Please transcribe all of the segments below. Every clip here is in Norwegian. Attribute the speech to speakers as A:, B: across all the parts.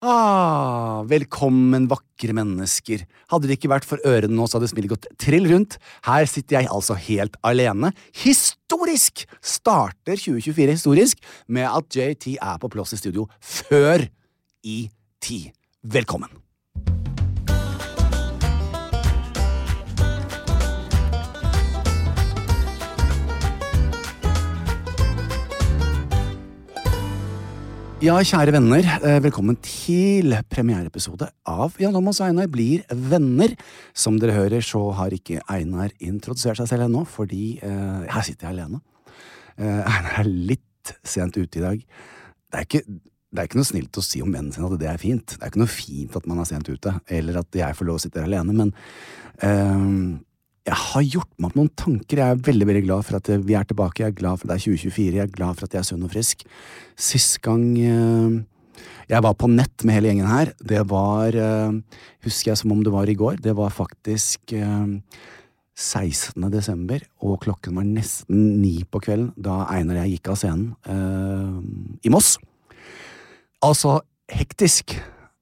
A: Ah, velkommen, vakre mennesker. Hadde det ikke vært for ørene nå, så hadde smilet gått trill rundt. Her sitter jeg altså helt alene. Historisk! Starter 2024 historisk med at JT er på plass i studio før i ti. Velkommen. Ja, kjære venner, eh, velkommen til premiereepisode av Jan Thomas og Einar blir venner. Som dere hører, så har ikke Einar introdusert seg selv ennå, fordi eh, her sitter jeg alene. Eh, Einar er litt sent ute i dag. Det er ikke, det er ikke noe snilt å si om vennen sin at det er fint. Det er ikke noe fint at man er sent ute, eller at jeg får lov å sitte her alene, men eh, jeg har gjort meg opp noen tanker. Jeg er veldig veldig glad for at vi er tilbake. Jeg er glad for at det er 2024. Jeg er glad for at jeg er sunn og frisk. Sist gang eh, jeg var på nett med hele gjengen her, det var eh, Husker jeg som om det var i går. Det var faktisk eh, 16. desember, og klokken var nesten ni på kvelden da Einar og jeg gikk av scenen eh, i Moss. Altså, hektisk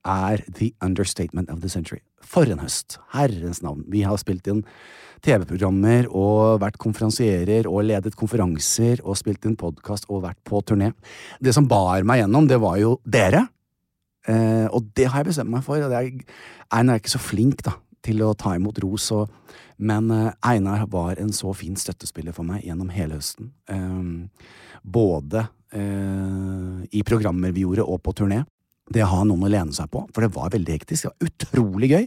A: er the understatement of the century. For en høst! Herrens navn. Vi har spilt inn TV-programmer og vært konferansierer og ledet konferanser og spilt inn podkast og vært på turné. Det som bar meg gjennom, det var jo dere. Eh, og det har jeg bestemt meg for. Og det er, Einar er ikke så flink da, til å ta imot ros, og, men eh, Einar var en så fin støttespiller for meg gjennom hele høsten. Eh, både eh, i programmer vi gjorde, og på turné. Det å ha noen å lene seg på, for det var veldig hektisk. Det var utrolig gøy.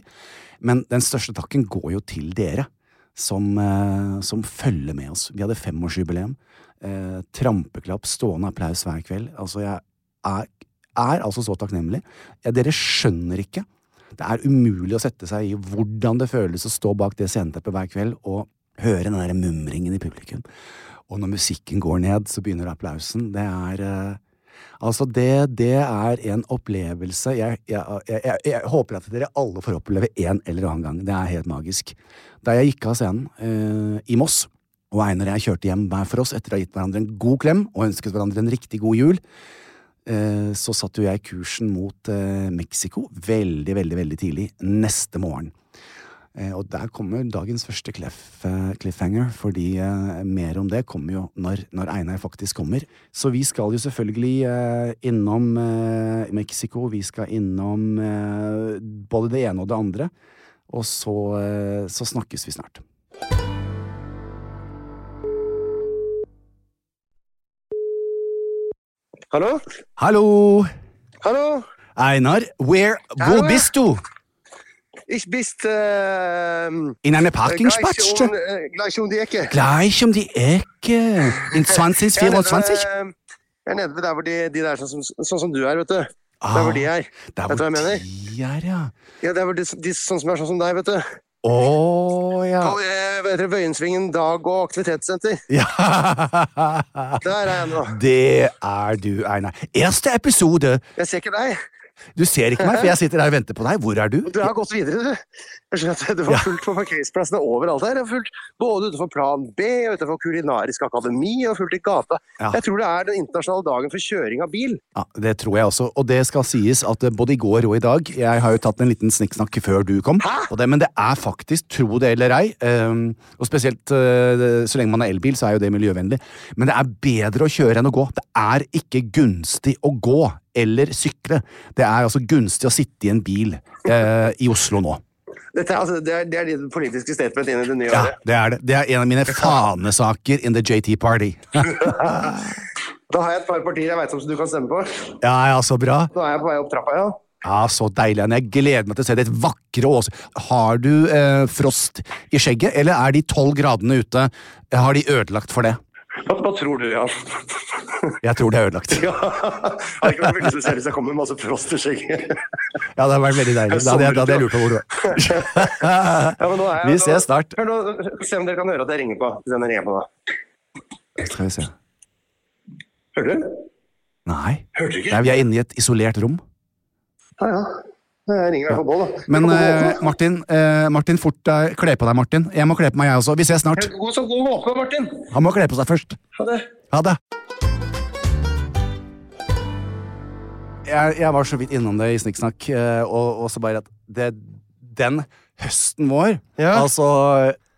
A: Men den største takken går jo til dere, som, eh, som følger med oss. Vi hadde femårsjubileum. Eh, trampeklapp, stående applaus hver kveld. Altså, jeg er, er altså så takknemlig. Ja, dere skjønner ikke. Det er umulig å sette seg i hvordan det føles å stå bak det sceneteppet hver kveld og høre den der mumringen i publikum. Og når musikken går ned, så begynner applausen. Det er eh, Altså, det, det er en opplevelse jeg, jeg, jeg, jeg, jeg håper at dere alle får oppleve en eller annen gang. Det er helt magisk. Da jeg gikk av scenen eh, i Moss, og Einar og jeg kjørte hjem hver for oss etter å ha gitt hverandre en god klem og ønsket hverandre en riktig god jul, eh, så satte jo jeg kursen mot eh, Mexico veldig, veldig, veldig tidlig neste morgen. Eh, og der kommer dagens første cliff, eh, cliffhanger, fordi eh, mer om det kommer jo når, når Einar faktisk kommer. Så vi skal jo selvfølgelig eh, innom eh, Mexico, vi skal innom eh, både det ene og det andre. Og så, eh, så snakkes vi snart.
B: Hallo?
A: Hallo!
B: Hallo?
A: Einar, where,
B: Hallo.
A: hvor bist du?
B: Ich bist ähm,
A: In eine
B: äh, gleich, um,
A: Parkingspatsche?
B: äh, gleich um die Ecke.
A: Gleich um die Ecke! In 2024?
B: Jeg er nede, jeg er nede ved der hvor de, de der sånn, som- sånn som du er, vet du.
A: Ah,
B: Der hvor de er.
A: der
B: vet du
A: hvor
B: hva jeg
A: de er, ja.
B: Ja, der hvor de, de sånn som er sånn som deg, vet du.
A: Å, ja.
B: Og, eh, hva heter det, Vøyensvingen dag- og aktivitetssenter.
A: Ja.
B: Der er jeg nå.
A: Det er du, Einar. Erste episode.
B: Jeg ser ikke deg.
A: Du ser ikke meg, for jeg sitter her og venter på deg. Hvor er du?
B: Du har gått videre, du. Jeg skjønner at Det var fullt på parkeringsplassene overalt her. Det var fullt både utenfor Plan B og utenfor Kulinarisk akademi og fullt i gata.
A: Ja.
B: Jeg tror det er den internasjonale dagen for kjøring av bil.
A: Ja, Det tror jeg også, og det skal sies at eh, både i går og i dag Jeg har jo tatt en liten snikksnakk før du kom, og det, men det er faktisk, tro det eller ei ehm, Og spesielt eh, så lenge man er elbil, så er jo det miljøvennlig. Men det er bedre å kjøre enn å gå. Det er ikke gunstig å gå eller sykle. Det er altså gunstig å sitte i en bil eh, i Oslo nå.
B: Dette, er altså, det, er, det er ditt politiske statement inn i det nye
A: Ja,
B: året.
A: Det er det. Det er en av mine fanesaker in the JT Party.
B: Da har jeg et par partier jeg veit om som du kan stemme på.
A: Ja, ja, så altså bra.
B: Nå er jeg på vei opp trappa, ja.
A: Ja, Så deilig. Anne. Jeg gleder meg til å se ditt vakre Ås. Har du eh, frost i skjegget, eller er de tolv gradene ute eh, Har de ødelagt for det?
B: Hva, hva tror du, Jan?
A: Jeg tror de har ødelagt.
B: ja. Hadde ikke vært veldig spesielt hvis jeg kom med masse frost i skjegget.
A: Ja, det har vært veldig deilig. Da hadde jeg, da hadde jeg lurt på hvor du
B: Ja, men nå er
A: var.
B: jeg-
A: Vi ses snart.
B: Hør nå, se om dere kan høre at jeg ringer på. Hvis jeg ringer på da.
A: Skal vi se.
B: Hører du?
A: Nei.
B: Hører du ikke?
A: Nei, vi er inne i et isolert rom.
B: Ja, ja. Jeg ringer i hvert fall på, da.
A: Men
B: God
A: eh,
B: åpne.
A: Martin, eh, Martin, fort deg. Kle på deg, Martin. Jeg må kle på meg, jeg også. Vi ses snart.
B: God som god åpne, Martin.
A: Han må kle på seg først.
B: Ha det.
A: Ha det! Jeg, jeg var så vidt innom det i Snikksnakk, eh, og, og så bare at det, den høsten vår
C: Ja.
A: Altså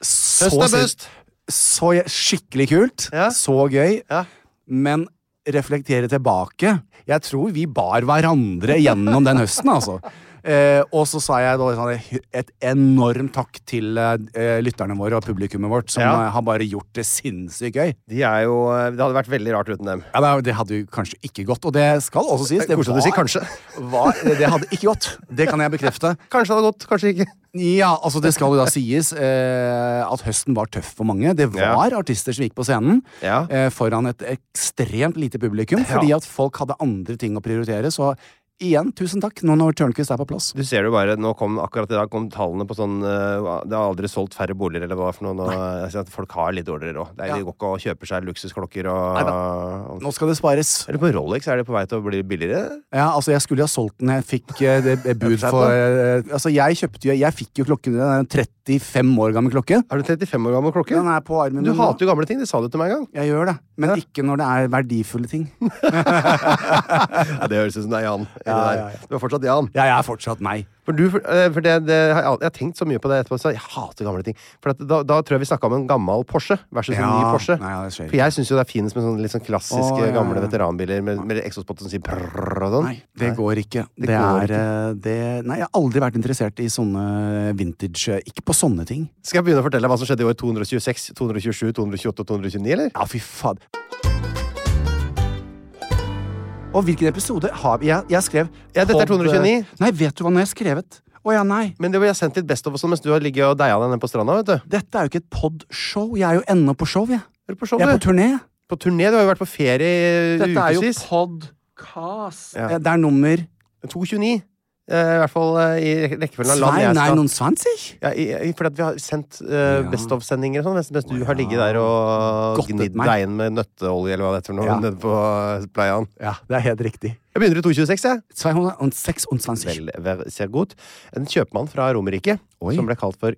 A: så,
C: Høst er
A: sin-
C: best.
A: Så je- skikkelig kult.
C: Ja.
A: Så gøy.
C: Ja.
A: Men reflektere tilbake Jeg tror vi bar hverandre gjennom den høsten, altså. Eh, og så sa jeg da sånn, et enormt takk til eh, lytterne våre og publikummet vårt, som
C: Ja.
A: eh, har bare gjort det sinnssykt gøy.
C: De er jo, det hadde vært veldig rart uten dem.
A: Ja, nei, Det hadde jo kanskje ikke gått, og det skal også sies.
C: Det er koselig at du sier kanskje.
A: var- det hadde ikke gått. Det kan jeg bekrefte.
C: Kanskje det hadde gått, kanskje ikke.
A: Ja, altså Det skal jo da sies eh, at høsten var tøff for mange. Det var artister som gikk på scenen
C: Ja.
A: eh, foran et ekstremt lite publikum, fordi
C: Ja.
A: at folk hadde andre ting å prioritere. Så igjen, tusen takk, nå når Tørnquist er på plass.
C: Du ser det jo bare, nå kom akkurat i dag kom tallene på sånn eh, Det har aldri solgt færre boliger eller hva det er for noe. Nå, jeg ser at folk har litt dårligere råd. Det er-
A: Ja.
C: De går ikke og kjøper seg luksusklokker
A: Nei
C: og, og
A: Nå skal det spares.
C: Eller på Rolex er de på vei til å bli billigere.
A: Ja, altså Jeg skulle jo ha solgt den. Jeg fikk eh, det det bud for eh, Altså Jeg kjøpte jo Jeg fikk jo klokken det er en 35 år gammel klokke.
C: Er du 35 år gammel klokke?
A: Den er på armen
C: Du
A: min nå.
C: hater jo gamle ting. Det sa du til meg en gang.
A: Jeg gjør det, men ikke når det er verdifulle ting.
C: Ja, det høres ut som det er Jan. i det
A: Ja,
C: der.
A: ja, ja.
C: Du er fortsatt Jan.
A: Jeg er fortsatt meg.
C: For du, for, eh, for det, det, har jeg al- jeg har tenkt så mye på det etterpå. Så jeg hater gamle ting. For at, da, da tror jeg vi snakka om en gammel Porsche versus en
A: Ja,
C: ny Porsche.
A: nei, ja, det skjer
C: for jeg syns jo det er finest med sånne litt sånn klassiske
A: Å, ja, ja,
C: gamle
A: ja.
C: veteranbiler med, med eksospotter som sier prrrr og sånn.
A: Nei, det går ikke. Det, er
C: går
A: eh, Det, Nei, jeg har aldri vært interessert i sånne vintage eh, Ikke på sånne ting.
C: Skal jeg begynne å fortelle deg hva som skjedde i år 226, 227, 228 og 229, eller?
A: Ja, fy faen. Og hvilken episode har vi? Jeg, jeg skrev
C: Ja, dette er
A: pod- eh,
C: 229.
A: Nei, vet du hva når jeg har skrevet? Å ja, nei.
C: Men det var jeg sendt litt Best of og sånn mens du har ligget og deia deg nede på stranda, vet du.
A: Dette er jo ikke et podshow. Jeg er jo ennå på show, jeg.
C: Hør på show,
A: Jeg er
C: du.
A: på turné.
C: På turné. Du har jo vært på ferie i
A: Dette er jo
C: ukevis.
A: podcast.
C: Ja.
A: Eh, Det er nummer
C: 229. eh, I hvert fall eh, i rek- rekkefølgen av land
A: Svein
C: jeg
A: er
C: skal
A: noen svanser.
C: Ja, i- i- fordi at vi har sendt eh,
A: Ja.
C: Best of-sendinger og sånn, mens, mens du har ligget der og
A: Godtet
C: gnidd
A: meg.
C: deg inn med nøtteolje eller hva det heter for noe
A: Ja.
C: nede på eh, playaen.
A: Ja, det er helt riktig.
C: Jeg begynner i 226, jeg.
A: 226.
C: Vel, vel, ser godt. En kjøpmann fra Romerike
A: Oi.
C: som ble kalt for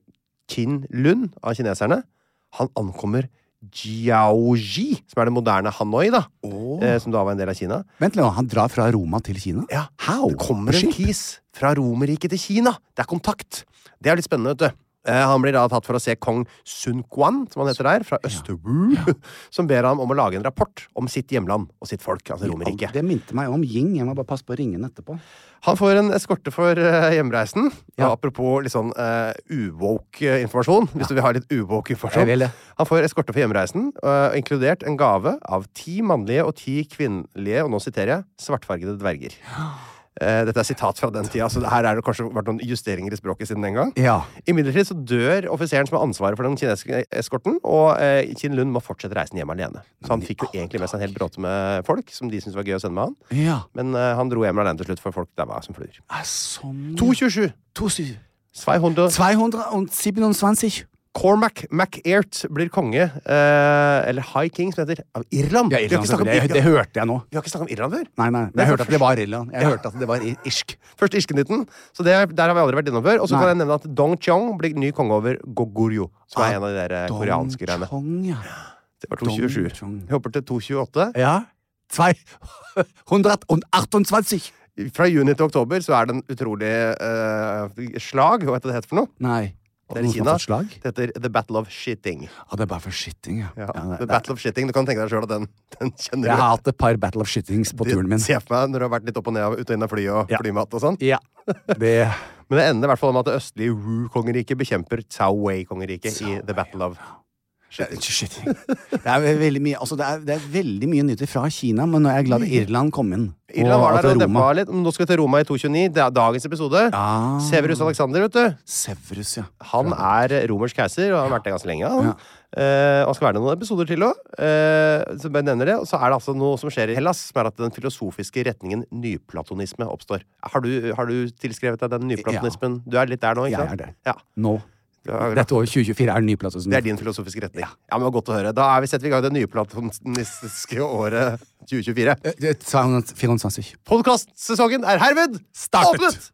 C: Qin Lund av kineserne, han ankommer Jiaoji, som er det moderne Hanoi, da, eh, som da var en del av Kina.
A: Vent litt, nå, han drar fra Roma til Kina?
C: Ja,
A: How?
C: Det kommer en kis fra Romerriket til Kina. Det er kontakt. Det er litt spennende, vet du. Eh, Han blir da tatt for å se kong Sun Quan, som han heter der, fra Østerwu, som ber ham om å lage en rapport om sitt hjemland og sitt folk, altså Romerriket.
A: Det minte meg om Ying. Jeg må bare passe på å ringe den etterpå.
C: Han får en eskorte for eh, hjemreisen.
A: Ja.
C: Og apropos litt sånn eh, uwoke eh, informasjon, hvis du vil ha litt uwoke
A: Jeg vil
C: informasjon.
A: det.
C: Han får eskorte for hjemreisen, eh, inkludert en gave av ti mannlige og ti kvinnelige, og nå siterer jeg, svartfargede dverger. Eh, dette er sitat fra den tida, så det her er det kanskje vært noen justeringer i språket siden den gang.
A: Ja.
C: Imidlertid så dør offiseren som har ansvaret for den kinesiske eskorten, og eh, Qin Lund må fortsette reisen hjem alene. Så han fikk jo egentlig med seg en hel bråte med folk, som de syntes var gøy å sende med han.
A: ja.
C: Men eh, han dro hjem alene til slutt, for folk der var som fluer.
A: Er sånn
C: 227.
A: To syv-
C: 200.
A: 227.
C: Cormac McAirt blir konge, eh, eller High King, som heter, av Irland.
A: Ja,
C: Vi har
A: Irland,
C: ikke snakket om-
A: selvfølgelig. det, det hørte jeg nå.
C: vi har ikke snakket om Irland før.
A: Nei, nei.
C: Det er
A: Jeg hørte at
C: først-
A: det var Irland. Jeg hørte at det var i- irsk.
C: Først Irskenytten. Så det, der har vi aldri vært innom før. Og
A: Nei.
C: så kan jeg nevne at Dong Chong blir ny konge over Goguryo, som er
A: Ah,
C: en av de der eh, koreanske greiene.
A: Dong Chong, ja.
C: Det var
A: Dong
C: 227.
A: Chong.
C: Vi hopper til 228.
A: Ja. 228.
C: Fra juni til oktober så er det en utrolig eh, slag. Hva heter det heter for noe?
A: Nei.
C: Det er
A: Noen
C: i
A: som har
C: Kina.
A: fått slag?
C: Det heter The Battle of Shitting.
A: Ja, det er bare for shitting, ja.
C: Ja,
A: Ja, det-
C: The
A: det-
C: Battle of Shitting. Du kan tenke deg sjøl at den, den kjenner
A: Jeg
C: du.
A: har hatt et par Battle of Shittings på turen min.
C: Se for meg når du har vært litt opp og ned av- ut og inn av fly og
A: Ja.
C: flymat og sånn.
A: Ja. Det
C: Men det ender i hvert fall med at det østlige Wu-kongeriket bekjemper Cao Wei-kongeriket i The Battle of Shitting.
A: Shitting. Det er veldig mye altså det, er, det er veldig mye nyttig fra Kina, men nå er jeg glad Irland kom inn.
C: Irland var
A: at
C: der og
A: Roma-
C: dempa litt. Nå skal vi til Roma i 229. Det er dagens episode.
A: Ah.
C: Severus Alexander, vet du.
A: Severus, ja.
C: Han er romersk keiser og har vært det ganske lenge. Han. Eh, han skal være det noen episoder til òg. så bare nevner det. Og så er det altså noe som skjer i Hellas, som er at den filosofiske retningen nyplatonisme oppstår. Har du, har du tilskrevet deg den nyplatonismen? Du er litt der nå, ikke
A: Jeg er
C: sant?
A: det.
C: Ja.
A: Nå.
C: Ja,
A: Dette året 2024 er den nye plassen.
C: Det er din filosofiske retning. Ja, men det var Godt å høre. Da er vi setter vi i gang det nyplatonistiske året 2024.
A: Eh, det er 224.
C: Podkastsesongen er herved
A: Startet.
C: åpnet!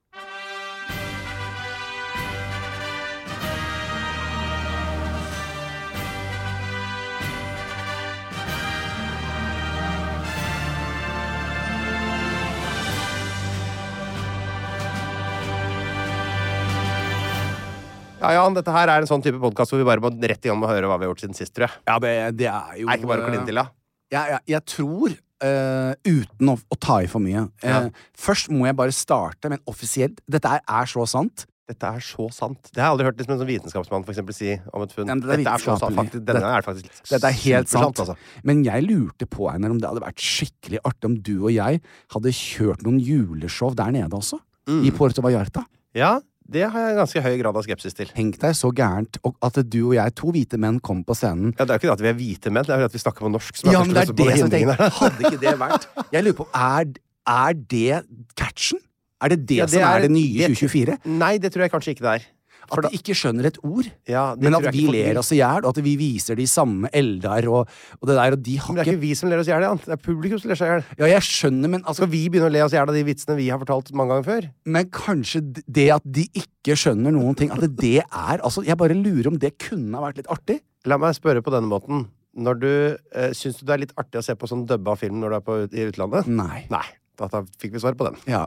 C: Ja, Jan, dette her er en sånn type podkast hvor vi bare må rett i gang med å høre hva vi har gjort siden sist, tror jeg.
A: Ja, det, det er jo
C: Er eh, ikke bare å kline til, da?
A: Jeg, jeg, jeg tror, eh, uten å, å ta i for mye eh,
C: Ja.
A: Først må jeg bare starte med en offisiell Dette er, er så sant.
C: Dette er så sant. Det har jeg aldri hørt liksom, en sånn vitenskapsmann for eksempel, si om et funn.
A: Ja, men det er
C: Dette er så
A: vitenskapelig.
C: sant. Faktisk, denne
A: Dette-
C: er faktisk
A: Dette er helt sant.
C: supersant, altså.
A: Men jeg lurte på Einar, om det hadde vært skikkelig artig om du og jeg hadde kjørt noen juleshow der nede også.
C: Mm.
A: I Puerto Vallarta.
C: Ja, det har jeg en ganske høy grad av skepsis til.
A: Tenk deg så gærent og- at du og jeg, to hvite menn, kom på scenen.
C: Ja, det er jo ikke det at vi er hvite menn, det er jo det at vi snakker på norsk. som
A: Ja, men det er
C: først og fremst
A: det som jeg
C: hindringen her.
A: tenker. Hadde ikke det vært Jeg lurer på, er, er det catchen? Er det det,
C: Ja, det
A: som er,
C: er-
A: det nye
C: det-
A: 2024?
C: Nei, det tror jeg kanskje ikke det er.
A: At de ikke skjønner et ord.
C: Ja, det
A: men
C: tror
A: at
C: jeg
A: vi
C: ikke folk
A: ler
C: vil.
A: oss i hjel, og at vi viser de samme Eldar og, og det der, og de
C: Men
A: har
C: det er
A: ikke
C: ikke vi som ler oss i hjel, Jan. det er publikum som ler seg i hjel.
A: Ja, jeg skjønner, men altså
C: Skal vi begynne å le oss i hjel av de vitsene vi har fortalt mange ganger før?
A: Men kanskje d- det at de ikke skjønner noen ting, at det er Altså, jeg bare lurer om det kunne ha vært litt artig.
C: La meg spørre på denne måten. Når du, eh, Syns du det er litt artig å se på sånn dubba film når du er på, i utlandet?
A: Nei.
C: Nei. Da, da fikk vi svar på den.
A: Ja.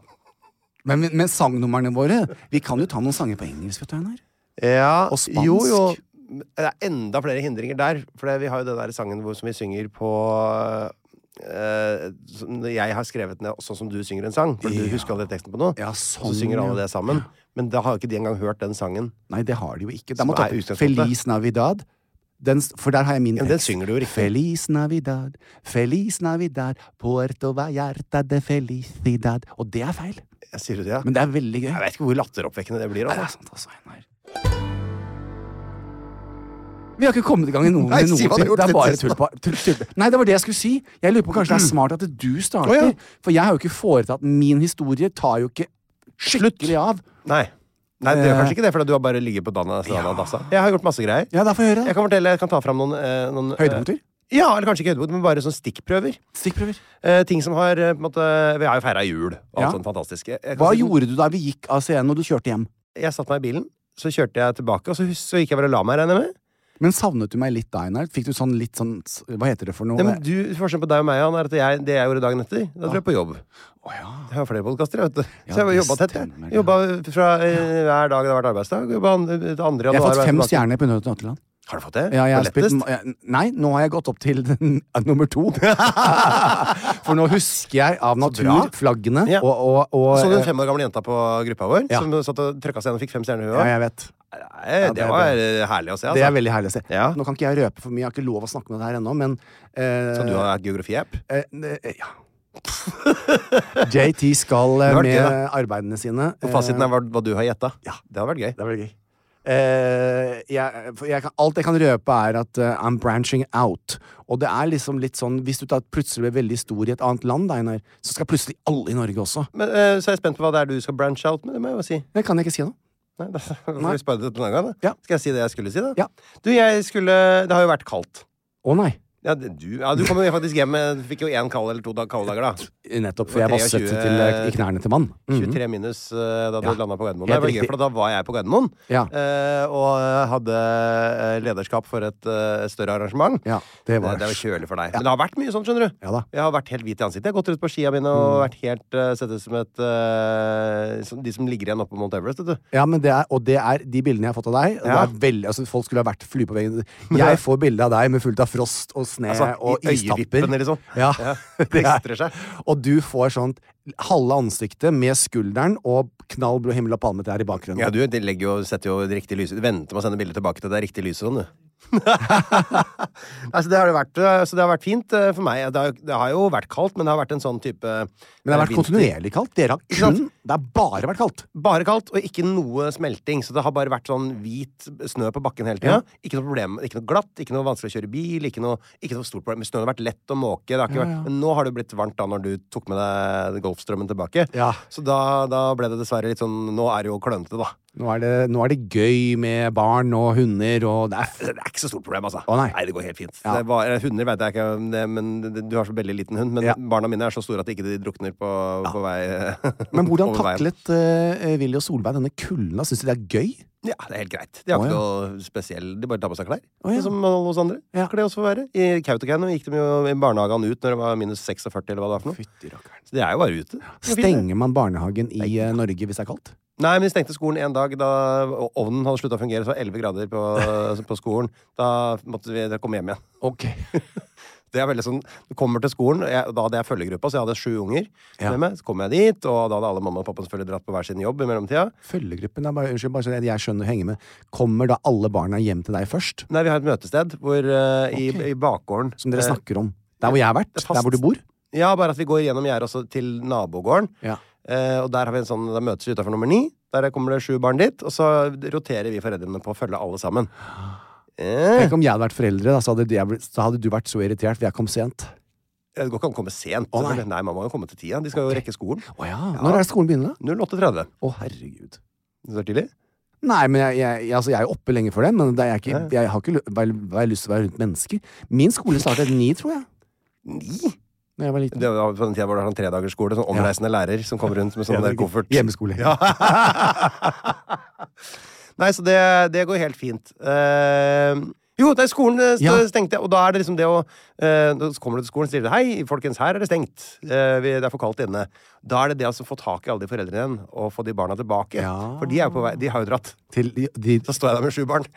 A: Men, men, men sangnumrene våre Vi kan jo ta noen sanger på engelsk, vet du, Einar.
C: Ja,
A: Og spansk.
C: Jo, jo. Det er enda flere hindringer der. For det- vi har jo den der sangen hvor, som vi synger på eh, som Jeg har skrevet ned sånn som du synger en sang. For du
A: Ja.
C: husker aldri teksten på noe.
A: Ja,
C: og
A: sånn,
C: så synger alle
A: ja.
C: det sammen. Men da har jo ikke de engang hørt den sangen.
A: Nei, det har de jo ikke. Da
C: Som
A: må ta
C: er utgangspunktet.
A: Feliz Navidad. Den, s- for der har jeg min
C: Ja, men den synger du jo riktig.
A: Feliz Navidad, Feliz Navidad, Puerto Vallarta de Felicidad. Og det er feil,
C: Jeg sier du det, ja?
A: men det er veldig gøy.
C: Jeg vet ikke hvor latteroppvekkende det blir.
A: Nei, det
C: Altså.
A: er sant, altså, Einar. Vi har ikke kommet i gang i noen
C: Nei,
A: med noen
C: si hva du
A: ting.
C: har gjort
A: Det er bare
C: siden
A: tull. på- tull, tull. Nei, det var det jeg skulle si. Jeg lurer på Kanskje det er smart at du starter.
C: Å, ja.
A: For jeg har jo ikke foretatt Min historie tar jo ikke skikkelig av.
C: Nei. Nei, det gjør
A: Eh.
C: kanskje ikke det, for du har bare ligget på dana dana og dassa. Jeg har gjort masse greier.
A: Ja, da får jeg høre.
C: Jeg
A: det.
C: kan fortelle, jeg kan ta fram noen, eh, noen eh,
A: Høydepunkter?
C: Ja, eller kanskje ikke høydepunkt, men bare sånn stikkprøver.
A: Stikkprøver.
C: Eh, ting som har eh, på en måte, Vi har jo feira jul og
A: Ja.
C: alt sånt fantastisk. Jeg, jeg kan
A: Hva
C: si-
A: gjorde du da vi gikk av scenen og du kjørte hjem?
C: Jeg satte meg i bilen, så kjørte jeg tilbake, og så, hus- så gikk jeg bare og la meg, regner jeg med.
A: Men savnet du meg litt da, Einar? Fikk du sånn litt sånn Hva heter det for noe?
C: Nei, men du, Forskjellen på deg og meg Jan, er at jeg, det jeg gjorde dagen etter, da dro jeg på jobb.
A: Å ja.
C: Jeg har flere podkaster, vet du.
A: Ja,
C: Så jeg
A: det
C: jobba tett. jeg.
A: stemmer, ja.
C: Jobba fra eh, hver dag det har vært arbeidsdag. Jobba an- eh, andre
A: Jeg har
C: januar,
A: fått fem
C: hver-
A: stjerner på Nødt og Nøtteland.
C: Har du fått det?
A: Ja, jeg har
C: Det var
A: spilt,
C: lettest.
A: jeg- nei, nå har jeg gått opp til den, eh, nummer to. For nå husker jeg av
C: bra.
A: natur flaggene
C: Ja.
A: og, og, og eh,
C: Så du den fem år gamle jenta på gruppa vår
A: Ja.
C: som satt og trøkka seg igjen og fikk fem stjerner? hun
A: Ja,
C: også?
A: jeg vet.
C: Nei,
A: Ja, det
C: det
A: er
C: var
A: bra.
C: eh, herlig å se. Altså.
A: Det er veldig herlig å se.
C: Ja.
A: Nå kan ikke jeg røpe for mye, jeg har ikke lov å snakke om det her ennå, men eh,
C: Skal du ha geografi-app?
A: eh, ne- eh, ja. JT skal eh,
C: Det var
A: med
C: det, da.
A: arbeidene sine
C: Og
A: eh,
C: fasiten er hva, hva du har gjetta?
A: Ja.
C: Det hadde vært gøy.
A: Det er veldig gøy. Eh, jeg, for jeg kan, alt jeg kan røpe, er at eh, I'm branching out. Og det er liksom litt sånn Hvis du da plutselig blir veldig stor i et annet land, da, Einar, så skal plutselig alle i Norge også.
C: Men, eh, så er jeg spent på hva det er du skal branche out med. Det må jeg jo si.
A: Det kan jeg ikke si nå.
C: Nei, da får vi spare det til en annen gang, da.
A: Ja.
C: Skal jeg si det jeg skulle si, da?
A: Ja.
C: Du, jeg skulle Det har jo vært kaldt.
A: Å nei.
C: Ja, det- du, ja, du kom jo faktisk hjem med Fikk jo én kald eller to da- kalde dager, da.
A: Nettopp,
C: Det
A: for jeg
C: var
A: vasset
C: 23
A: til, eh, i knærne til mann. Mhm.
C: 23 minus eh, da du
A: Ja.
C: landet landa på Gardermoen.
A: Helt
C: Det var gøy,
A: riktig.
C: for da var jeg på Gardermoen
A: Ja.
C: eh, og eh, hadde eh, lederskap for et eh, større arrangement.
A: Ja, det var-
C: Eh, det var kjølig for deg. Men det har vært mye sånn, skjønner du.
A: Ja da.
C: Jeg har vært helt hvit i ansiktet. Jeg har gått rundt på skia mine og
A: Mm.
C: vært helt eh, sett ut som et eh, som De som ligger igjen oppe på Mount Everest, vet du.
A: Ja, men det er, og det er de bildene jeg har fått av deg. Det
C: Ja.
A: er veldig, altså, folk skulle ha vært flue på veggen. Jeg får bilde av deg med fullt av frost og sne
C: Altså, i
A: og istapper.
C: øyevippene, liksom.
A: Ja.
C: Ja,
A: det er-
C: klistrer seg.
A: Og du får sånt halve ansiktet med skulderen og knallblå himmel og palmetrær i bakgrunnen.
C: Ja, du det legger jo, setter jo det riktige lyset Venter med å sende bildet tilbake til det er riktig lyset sånn, du. altså, det har det vært, eh, så det har vært fint eh, for meg. Det har, det har jo vært kaldt, men det har vært en sånn type eh,
A: men det har vært kontinuerlig kaldt. Dere har
C: sant?
A: kun Det har bare vært kaldt.
C: Bare kaldt, og ikke noe smelting. Så det har bare vært sånn hvit snø på bakken hele tida. Ikke noe problem, ikke noe glatt, ikke noe vanskelig å kjøre bil. Ikke noe, ikke noe stort problem. Men Snøen har vært lett å måke. Det har ikke vært, men nå har det blitt varmt da når du tok med deg Golfstrømmen tilbake.
A: Ja.
C: Så da, da ble det dessverre litt sånn Nå er det jo klønete, da.
A: Nå er, det, nå er det gøy med barn og hunder og det er,
C: Det er ikke så stort problem, altså.
A: Å, nei.
C: det går helt fint.
A: Ja.
C: Det er bare, hunder vet jeg ikke om det, men det- Du har så veldig liten hund, men
A: Ja.
C: barna mine er så store at ikke de drukner på, på vei
A: Men hvordan
C: over veien.
A: taklet eh, Willy og Solveig denne kulden? da? Syns de det er gøy?
C: Ja, det er helt greit. De har
A: Å,
C: ikke noe spesiell De bare tar på seg klær.
A: Å, ja.
C: Som alle oss andre.
A: Ja.
C: Skal det også få være. I Kautokeino gikk de jo i barnehagen ut når det var minus 46, eller hva det var for noe.
A: Fytti rakkeren.
C: Så de er jo bare ute. Det er fint, det.
A: Stenger man barnehagen i eh, Norge hvis det er kaldt?
C: Nei, men de stengte skolen en dag da ovnen hadde slutta å fungere. Så var det 11 grader på, på skolen. Da måtte vi komme hjem igjen.
A: Ok.
C: Det er veldig sånn, Du kommer til skolen, og jeg, da hadde jeg følgegruppa, så jeg hadde sju unger.
A: Ja.
C: med meg. Så kom jeg dit, og da hadde alle mamma og pappa selvfølgelig dratt på hver sin jobb i mellomtida.
A: Følgegruppen er bare, Unnskyld, bare så jeg- jeg skjønner å henge med. Kommer da alle barna hjem til deg først?
C: Nei, vi har et møtested hvor, eh,
A: Ok.
C: i, i bakgården
A: Som dere
C: Eh,
A: snakker om. Der hvor jeg har vært?
C: det er fast-
A: Der hvor du bor?
C: Ja, bare at vi går gjennom gjerdet også til nabogården.
A: Ja.
C: Eh, og der har vi en sånn, da møtes vi utafor nummer ni. Der kommer det sju barn dit. Og så roterer vi foreldrene på å følge alle sammen. Eh,
A: Tenk om jeg hadde vært foreldre, da, så, hadde de, så hadde du vært så irritert, for jeg kom sent.
C: det går ikke an å komme sent.
A: Å, nei.
C: selvfølgelig. nei, man må jo komme til tida. De skal jo rekke skolen.
A: Å ja. Når er det skolen begynner, da?
C: 08.30.
A: Å, herregud.
C: Det er tidlig.
A: Nei, men jeg, jeg, jeg- altså, jeg er jo oppe lenge for den, men det er ikke,
C: Ja.
A: jeg har ikke vel, vel, lyst til å være rundt mennesker. Min skole startet ni, tror jeg.
C: Ni?
A: Når jeg var liten.
C: Det var på den tida hvor det var sånn tredagersskole. Sånn omreisende lærer som kom rundt med sånn
A: Ja, det
C: der
A: er
C: koffert.
A: Hjemmeskole.
C: Ja. Nei, så det, det går helt fint. Eh, jo, det er skolen eh, st-
A: Ja.
C: stengte, og da er det liksom det å eh, Så kommer du til skolen og sier de, Hei, folkens, her er det stengt. Eh, vi, det er for kaldt inne. Da er det det altså å få tak i alle de foreldrene igjen og få de barna tilbake.
A: Ja.
C: For de er jo på vei, de har jo dratt.
A: Til, de, de,
C: Så står jeg der med sju barn.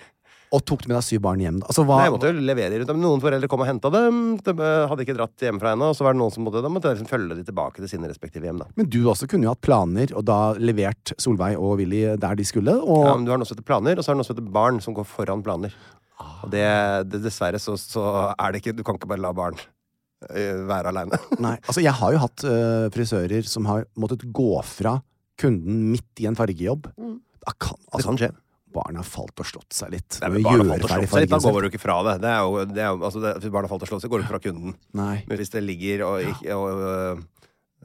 A: og tok med deg syv barn hjem. da. Altså, hva,
C: Nei, jeg måtte jo levere de rundt dem. Noen foreldre kom og henta dem. De eh, hadde ikke dratt hjemmefra ennå, og så var det noen som måtte, da måtte jeg liksom følge de tilbake til sine respektive hjem. da
A: men du også kunne jo hatt planer, og da levert Solveig og Willy der de skulle.
C: Ja,
A: Og
C: men du har noe som heter planer, og så har du noe som heter barn, som går foran planer. Og det, det, dessverre så, så er det ikke Du kan ikke bare la barn eh, være aleine.
A: Nei, altså jeg har jo hatt øh, frisører som har måttet gå fra kunden midt i en fargejobb. Da kan, altså,
C: kan skje.
A: Barna har falt og slått seg litt.
C: Nei,
A: Må
C: men barn har
A: gjøre
C: falt og
A: ferdig
C: slått seg litt, da
A: fargen
C: går du ikke fra det. det, er jo, det er jo, altså det, hvis barn har falt og slått seg, går du ikke fra kunden.
A: sin. Nei.
C: Men hvis det ligger og ikke og, øh,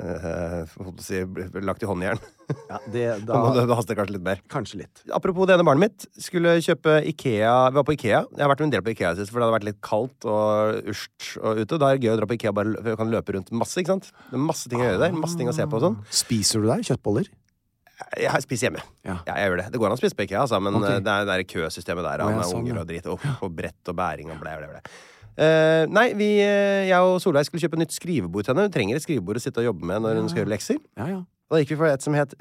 C: øh, holdt på å si, blir lagt i håndjern,
A: Ja, det,
C: da
A: da,
C: må du- da haster det kanskje litt mer.
A: kanskje litt.
C: Apropos det ene barnet mitt. Skulle kjøpe Ikea Vi var på Ikea. Jeg har vært en del på Ikea sist, for det hadde vært litt kaldt og urst og ute. Da er det gøy å dra på Ikea, bare, for du kan løpe rundt masse. ikke sant? Det er masse ting å gjøre der. Masse ting å se på og sånn.
A: Spiser du der kjøttboller?
C: Jeg spiser hjemme.
A: Ja.
C: jeg gjør det. Det går an å spise på Ikea, altså, men
A: Ok.
C: eh, det er det er køsystemet der,
A: Å, ja,
C: med
A: sånn, ja.
C: unger og dritt, og, og brett og bæring og blæ, blæ, blæ. Eh, nei, vi, eh, jeg og Solveig skulle kjøpe nytt skrivebord til henne. Hun trenger et skrivebord å sitte og jobbe med når hun skal gjøre lekser.
A: Ja, ja.
C: Da gikk vi for et som het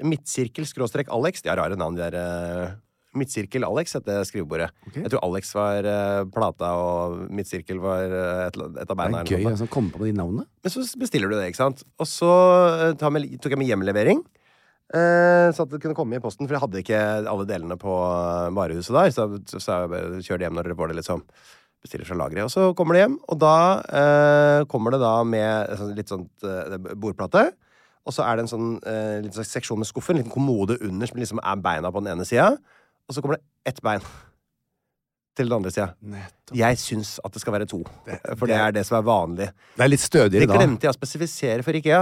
C: Midtsirkel-Alex. De har rare navn, de der. eh, Midtsirkel-Alex het det skrivebordet. Jeg tror Alex var eh, plata, og Midtsirkel var eh, et, eller- et av
A: Det
C: beina.
A: er
C: eller
A: gøy
C: noe sånt.
A: altså, å komme på de navnene.
C: Men så bestiller du det, ikke sant? Og så eh, tar med, tok jeg med hjemlevering. eh, så at det kunne komme i posten, for jeg hadde ikke alle delene på eh, varehuset der. Så så sa jeg bare kjør det hjem når dere får det, liksom. Bestiller fra lageret. Og så kommer det hjem, og da eh, kommer det da med sånn- litt sånn eh, bordplate. Og så er det en sånn eh, liten sånn seksjon med skuffer, en liten kommode under som liksom er beina på den ene sida. Og så kommer det ett bein. til den andre sida.
A: Nettopp.
C: Jeg syns at det skal være to, for det er det som er vanlig.
A: Det er litt stødigere
C: Det
A: da. Ah.
C: glemte jeg å spesifisere for IKEA.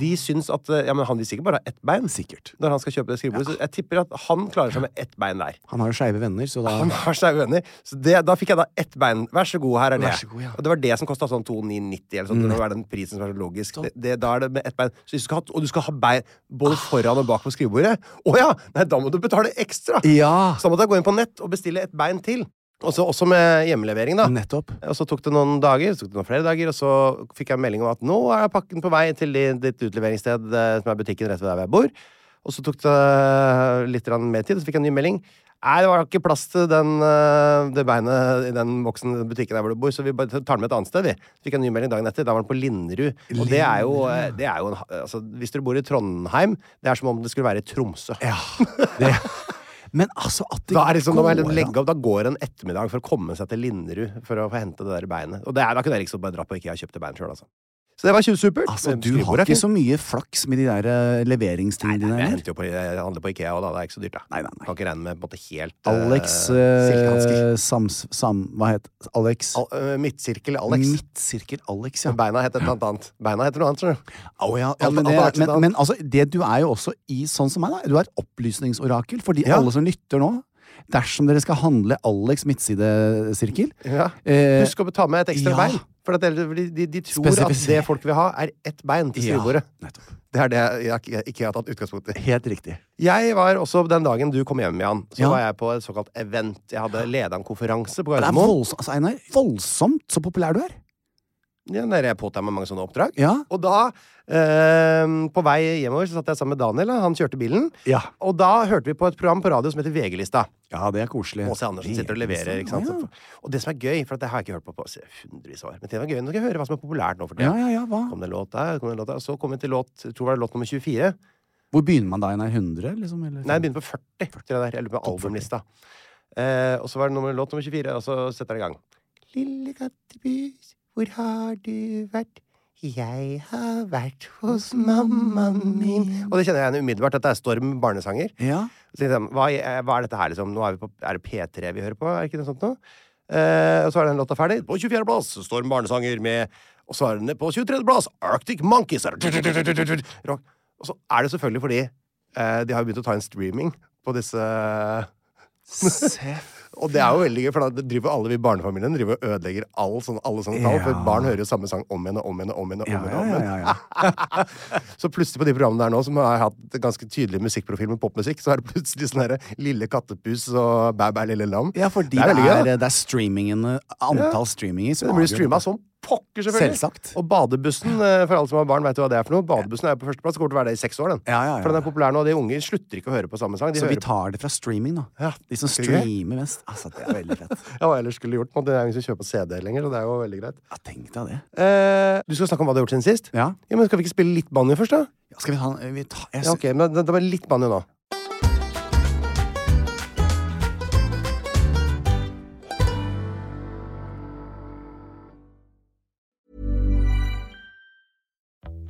C: De syns at eh, ja, men han vil sikkert bare ha ett bein
A: Sikkert.
C: når han skal kjøpe det skrivebordet. Så jeg tipper at han klarer seg med ett bein der.
A: Han har jo skeive venner, så da
C: Han har seg uenig. Så det, da fikk jeg da ett bein. Vær så god, her er det.
A: Vær så god, ja. Mm.
C: Og det var det som kosta sånn 2990, eller sånn. Det var den prisen som var så logisk. Det, det, da er det med ett bein. Så hvis du skal ha, og du skal ha bein både foran og bak på skrivebordet? Å ja! Nei, da må du betale ekstra!
A: Ja!
C: Så da måtte jeg gå inn på nett og bestille et bein til. Også, også med hjemmelevering, da.
A: Nettopp.
C: Og så tok det noen dager, så tok det noen flere dager, og så fikk jeg melding om at nå er pakken på vei til di- ditt utleveringssted, eh, som er butikken rett ved der hvor jeg bor. Og så tok det eh, litt grann mer tid, så fikk jeg en ny melding. Nei, det var ikke plass til den, eh, det beinet i den boksen i den butikken der hvor du bor, så vi bare tar den med et annet sted, vi. Så fikk jeg en ny melding dagen etter. Da var den på Linderud. Og det er jo, eh, det er jo en, ha- altså, Hvis dere bor i Trondheim, det er som om det skulle være i Tromsø.
A: Ja. Det. Men altså at det
C: Da er det liksom, da, må jeg
A: går
C: legge
A: an.
C: opp, da går en ettermiddag for å komme seg til Linderud for å få hente det der beinet. Og det er, da kunne jeg liksom bare dra på IKEA og kjøpt det beinet sjøl, altså. Så det var tjuvsupert.
A: Altså,
C: Men
A: du
C: skrivebordet
A: har
C: er
A: ikke
C: fint.
A: så mye flaks med de der eh, leveringstingene dine,
C: Jeg
A: eller?
C: henter jo på, jeg handler på IKEA, og da. Det er ikke så dyrt, da.
A: Nei, nei, nei.
C: Kan ikke regne med på en måte helt eh,
A: Alex
C: silkehansker.
A: eh, Sams... Sam... Hva het Alex?
C: Al eh, midtsirkel Alex.
A: Midtsirkel Alex, ja.
C: Beina heter et eller annet. Beina heter noe annet, skjønner du.
A: Å ja, ja,
C: Alt-
A: men,
C: alt har vært
A: det, men,
C: sitt
A: men altså, det du er jo også i, sånn som meg, da. Du er et opplysningsorakel. Fordi
C: Ja.
A: alle som lytter nå, dersom dere skal handle Alex midtsidesirkel
C: Ja.
A: eh,
C: Husk å ta med et ekstra
A: ja.
C: bein. For at ellers- de, de, de tror at
A: Spesifiser-
C: det folk vil ha, er ett bein til
A: Ja,
C: skrivebordet.
A: nettopp.
C: Det er det jeg, jeg ikke har tatt utgangspunkt i.
A: Helt riktig.
C: Jeg var også, Den dagen du kom hjem, Jan, så
A: Ja.
C: var jeg på et såkalt event. Jeg hadde leda en konferanse på
A: Det er
C: Gardermoen.
A: voldsomt, altså, Einar, voldsomt så populær du er.
C: Ja, der jeg påtar meg mange sånne oppdrag.
A: Ja.
C: Og da, eh, på vei hjemover, så satt jeg sammen med Daniel. Han kjørte bilen.
A: Ja,
C: Og da hørte vi på et program på radio som heter VG-lista.
A: det er koselig.
C: Åse Andersen sitter og leverer. ikke sant?
A: Ja, ja.
C: Så- Og det som er gøy, for at det har jeg ikke hørt på på hundrevis av år Men det var gøy, nå skal jeg høre hva som er populært nå for
A: Ja,
C: tida.
A: ja, ja, hva?
C: Kom det en låt der, kom det en låt der. Og så kom vi til låt, jeg tror det var låt nummer 24.
A: Hvor begynner man da, Einar? 100, liksom? Eller?
C: Nei, den begynner på 40. tror jeg det er. Jeg lurer på albumlista. Eh, og så var det nummer, låt nummer 24, og så setter den i gang. Lille kattepus, hvor har du vært? Jeg har vært hos mammaen min Og det kjenner jeg igjen umiddelbart. Dette er Storm barnesanger.
A: Ja.
C: Så tenkte jeg, hva, er- hva er dette her, liksom? Nå er, vi på, er det P3 vi hører på? Er det ikke noe sånt noe? Eh, og så er den låta ferdig. På 24. plass Storm Barnesanger med Og så er den på 23. plass Arctic Monkeys. Er det- Rock. Og så er det selvfølgelig fordi eh, de har jo begynt å ta inn streaming på disse
A: Se.
C: Og det er jo veldig gøy, for da driver alle vi i barnefamilien driver og ødelegger all sånn, alle sånne tall. For
A: Ja.
C: barn hører jo samme sang om igjen og om igjen og om igjen. og om
A: Ja, ja,
C: igjen, og om igjen.
A: ja, ja,
C: Så plutselig på de programmene der nå, som har hatt en ganske tydelig musikkprofil med popmusikk, så er det plutselig sånn herre Lille kattepus og Bæ bæ lille lam.
A: ja, fordi
C: det er veldig gøy. da.
A: det er streamingene, antall streaminger som
C: Det blir sånn,
A: avgjør
C: streama
A: dette.
C: som pokker, selvfølgelig.
A: Selvsagt.
C: Og badebussen, eh, for alle som har barn, vet jo hva det er for noe. Badebussen er jo på førsteplass, kommer til å være det i seks år, den.
A: Ja, ja, ja.
C: For den er populær nå, og de unge slutter ikke å høre på samme sang. De
A: Så vi
C: hører på
A: tar det fra streaming, da.
C: Ja,
A: De som
C: ikke det?
A: streamer mest. Altså, det er veldig fett.
C: ja, hva ellers skulle de gjort. liksom nå? Det er jo ingen som kjøper CD lenger, så det er jo veldig greit.
A: Ja, tenk deg det.
C: Eh, du skal snakke om hva du har gjort siden sist?
A: Ja.
C: ja men Skal vi ikke spille litt banjo først, da?
A: Ja, skal vi ta en vi tar- jeg,
C: Ja, ok, men det, det var litt banjo nå.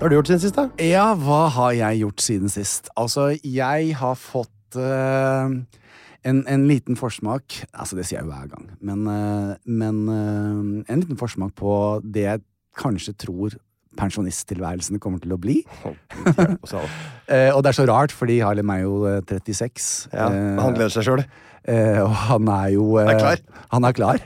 C: Hva har du gjort siden sist, da?
A: Ja, hva har jeg gjort siden sist? Altså, jeg har fått eh, en, en liten forsmak Altså, det sier jeg jo hver gang, men, eh, men eh, en liten forsmak på det jeg kanskje tror pensjonisttilværelsen kommer til å bli.
C: Og så-
A: Eh, og det er så rart, fordi Harlem er jo eh, 36.
C: Ja,
A: eh,
C: Han gleder seg sjøl.
A: Eh, og han er jo eh,
C: Han er klar.
A: Han er klar.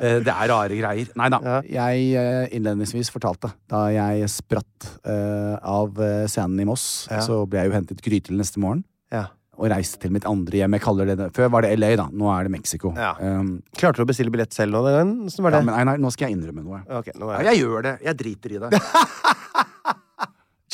A: Eh, det er rare greier. Nei da. Jeg eh, innledningsvis fortalte, da jeg spratt eh, av eh, scenen i Moss, så ble jeg jo hentet grytidlig neste morgen
C: Ja.
A: og reiste til mitt andre hjem. Jeg kaller det det. Før var det LA, da. Nå er det Mexico.
C: Ja.
A: Um,
C: Klarte du å bestille billett selv nå den gangen? Hvordan var
A: ja,
C: det?
A: men Einar, nå skal jeg innrømme noe.
C: Ok, nå
A: Ja,
C: er
A: jeg gjør det. Jeg driter i det.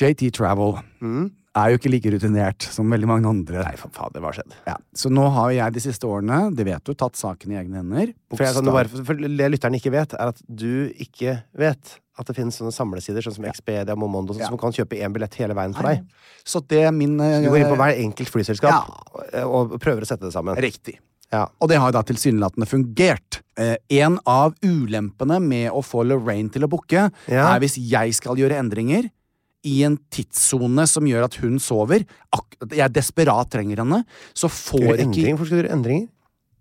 A: JT Travel
C: Mm.
A: er jo ikke like rutinert som veldig mange andre.
C: Nei, for fader, hva har skjedd?
A: Ja. Så nå har jeg de siste årene, det vet du, tatt saken i egne hender.
C: For, jeg, sånn, bare, for det lytteren ikke vet, er at du ikke vet at det finnes sånne samlesider sånn som Expedia og Momondo sånn,
A: Ja.
C: som kan kjøpe én billett hele veien for deg.
A: Så det er min eh,
C: Du går inn på hver enkelt flyselskap
A: Ja.
C: og, og prøver å sette det sammen.
A: Riktig.
C: Ja.
A: Og det har da tilsynelatende fungert. Eh, en av ulempene med å få Lorraine til å booke,
C: Ja.
A: er hvis jeg skal gjøre endringer i en tidssone som gjør at hun sover, ak jeg desperat trenger henne, så
C: Gjør
A: får ikke
C: endringer? Hvorfor skal du gjøre endringer?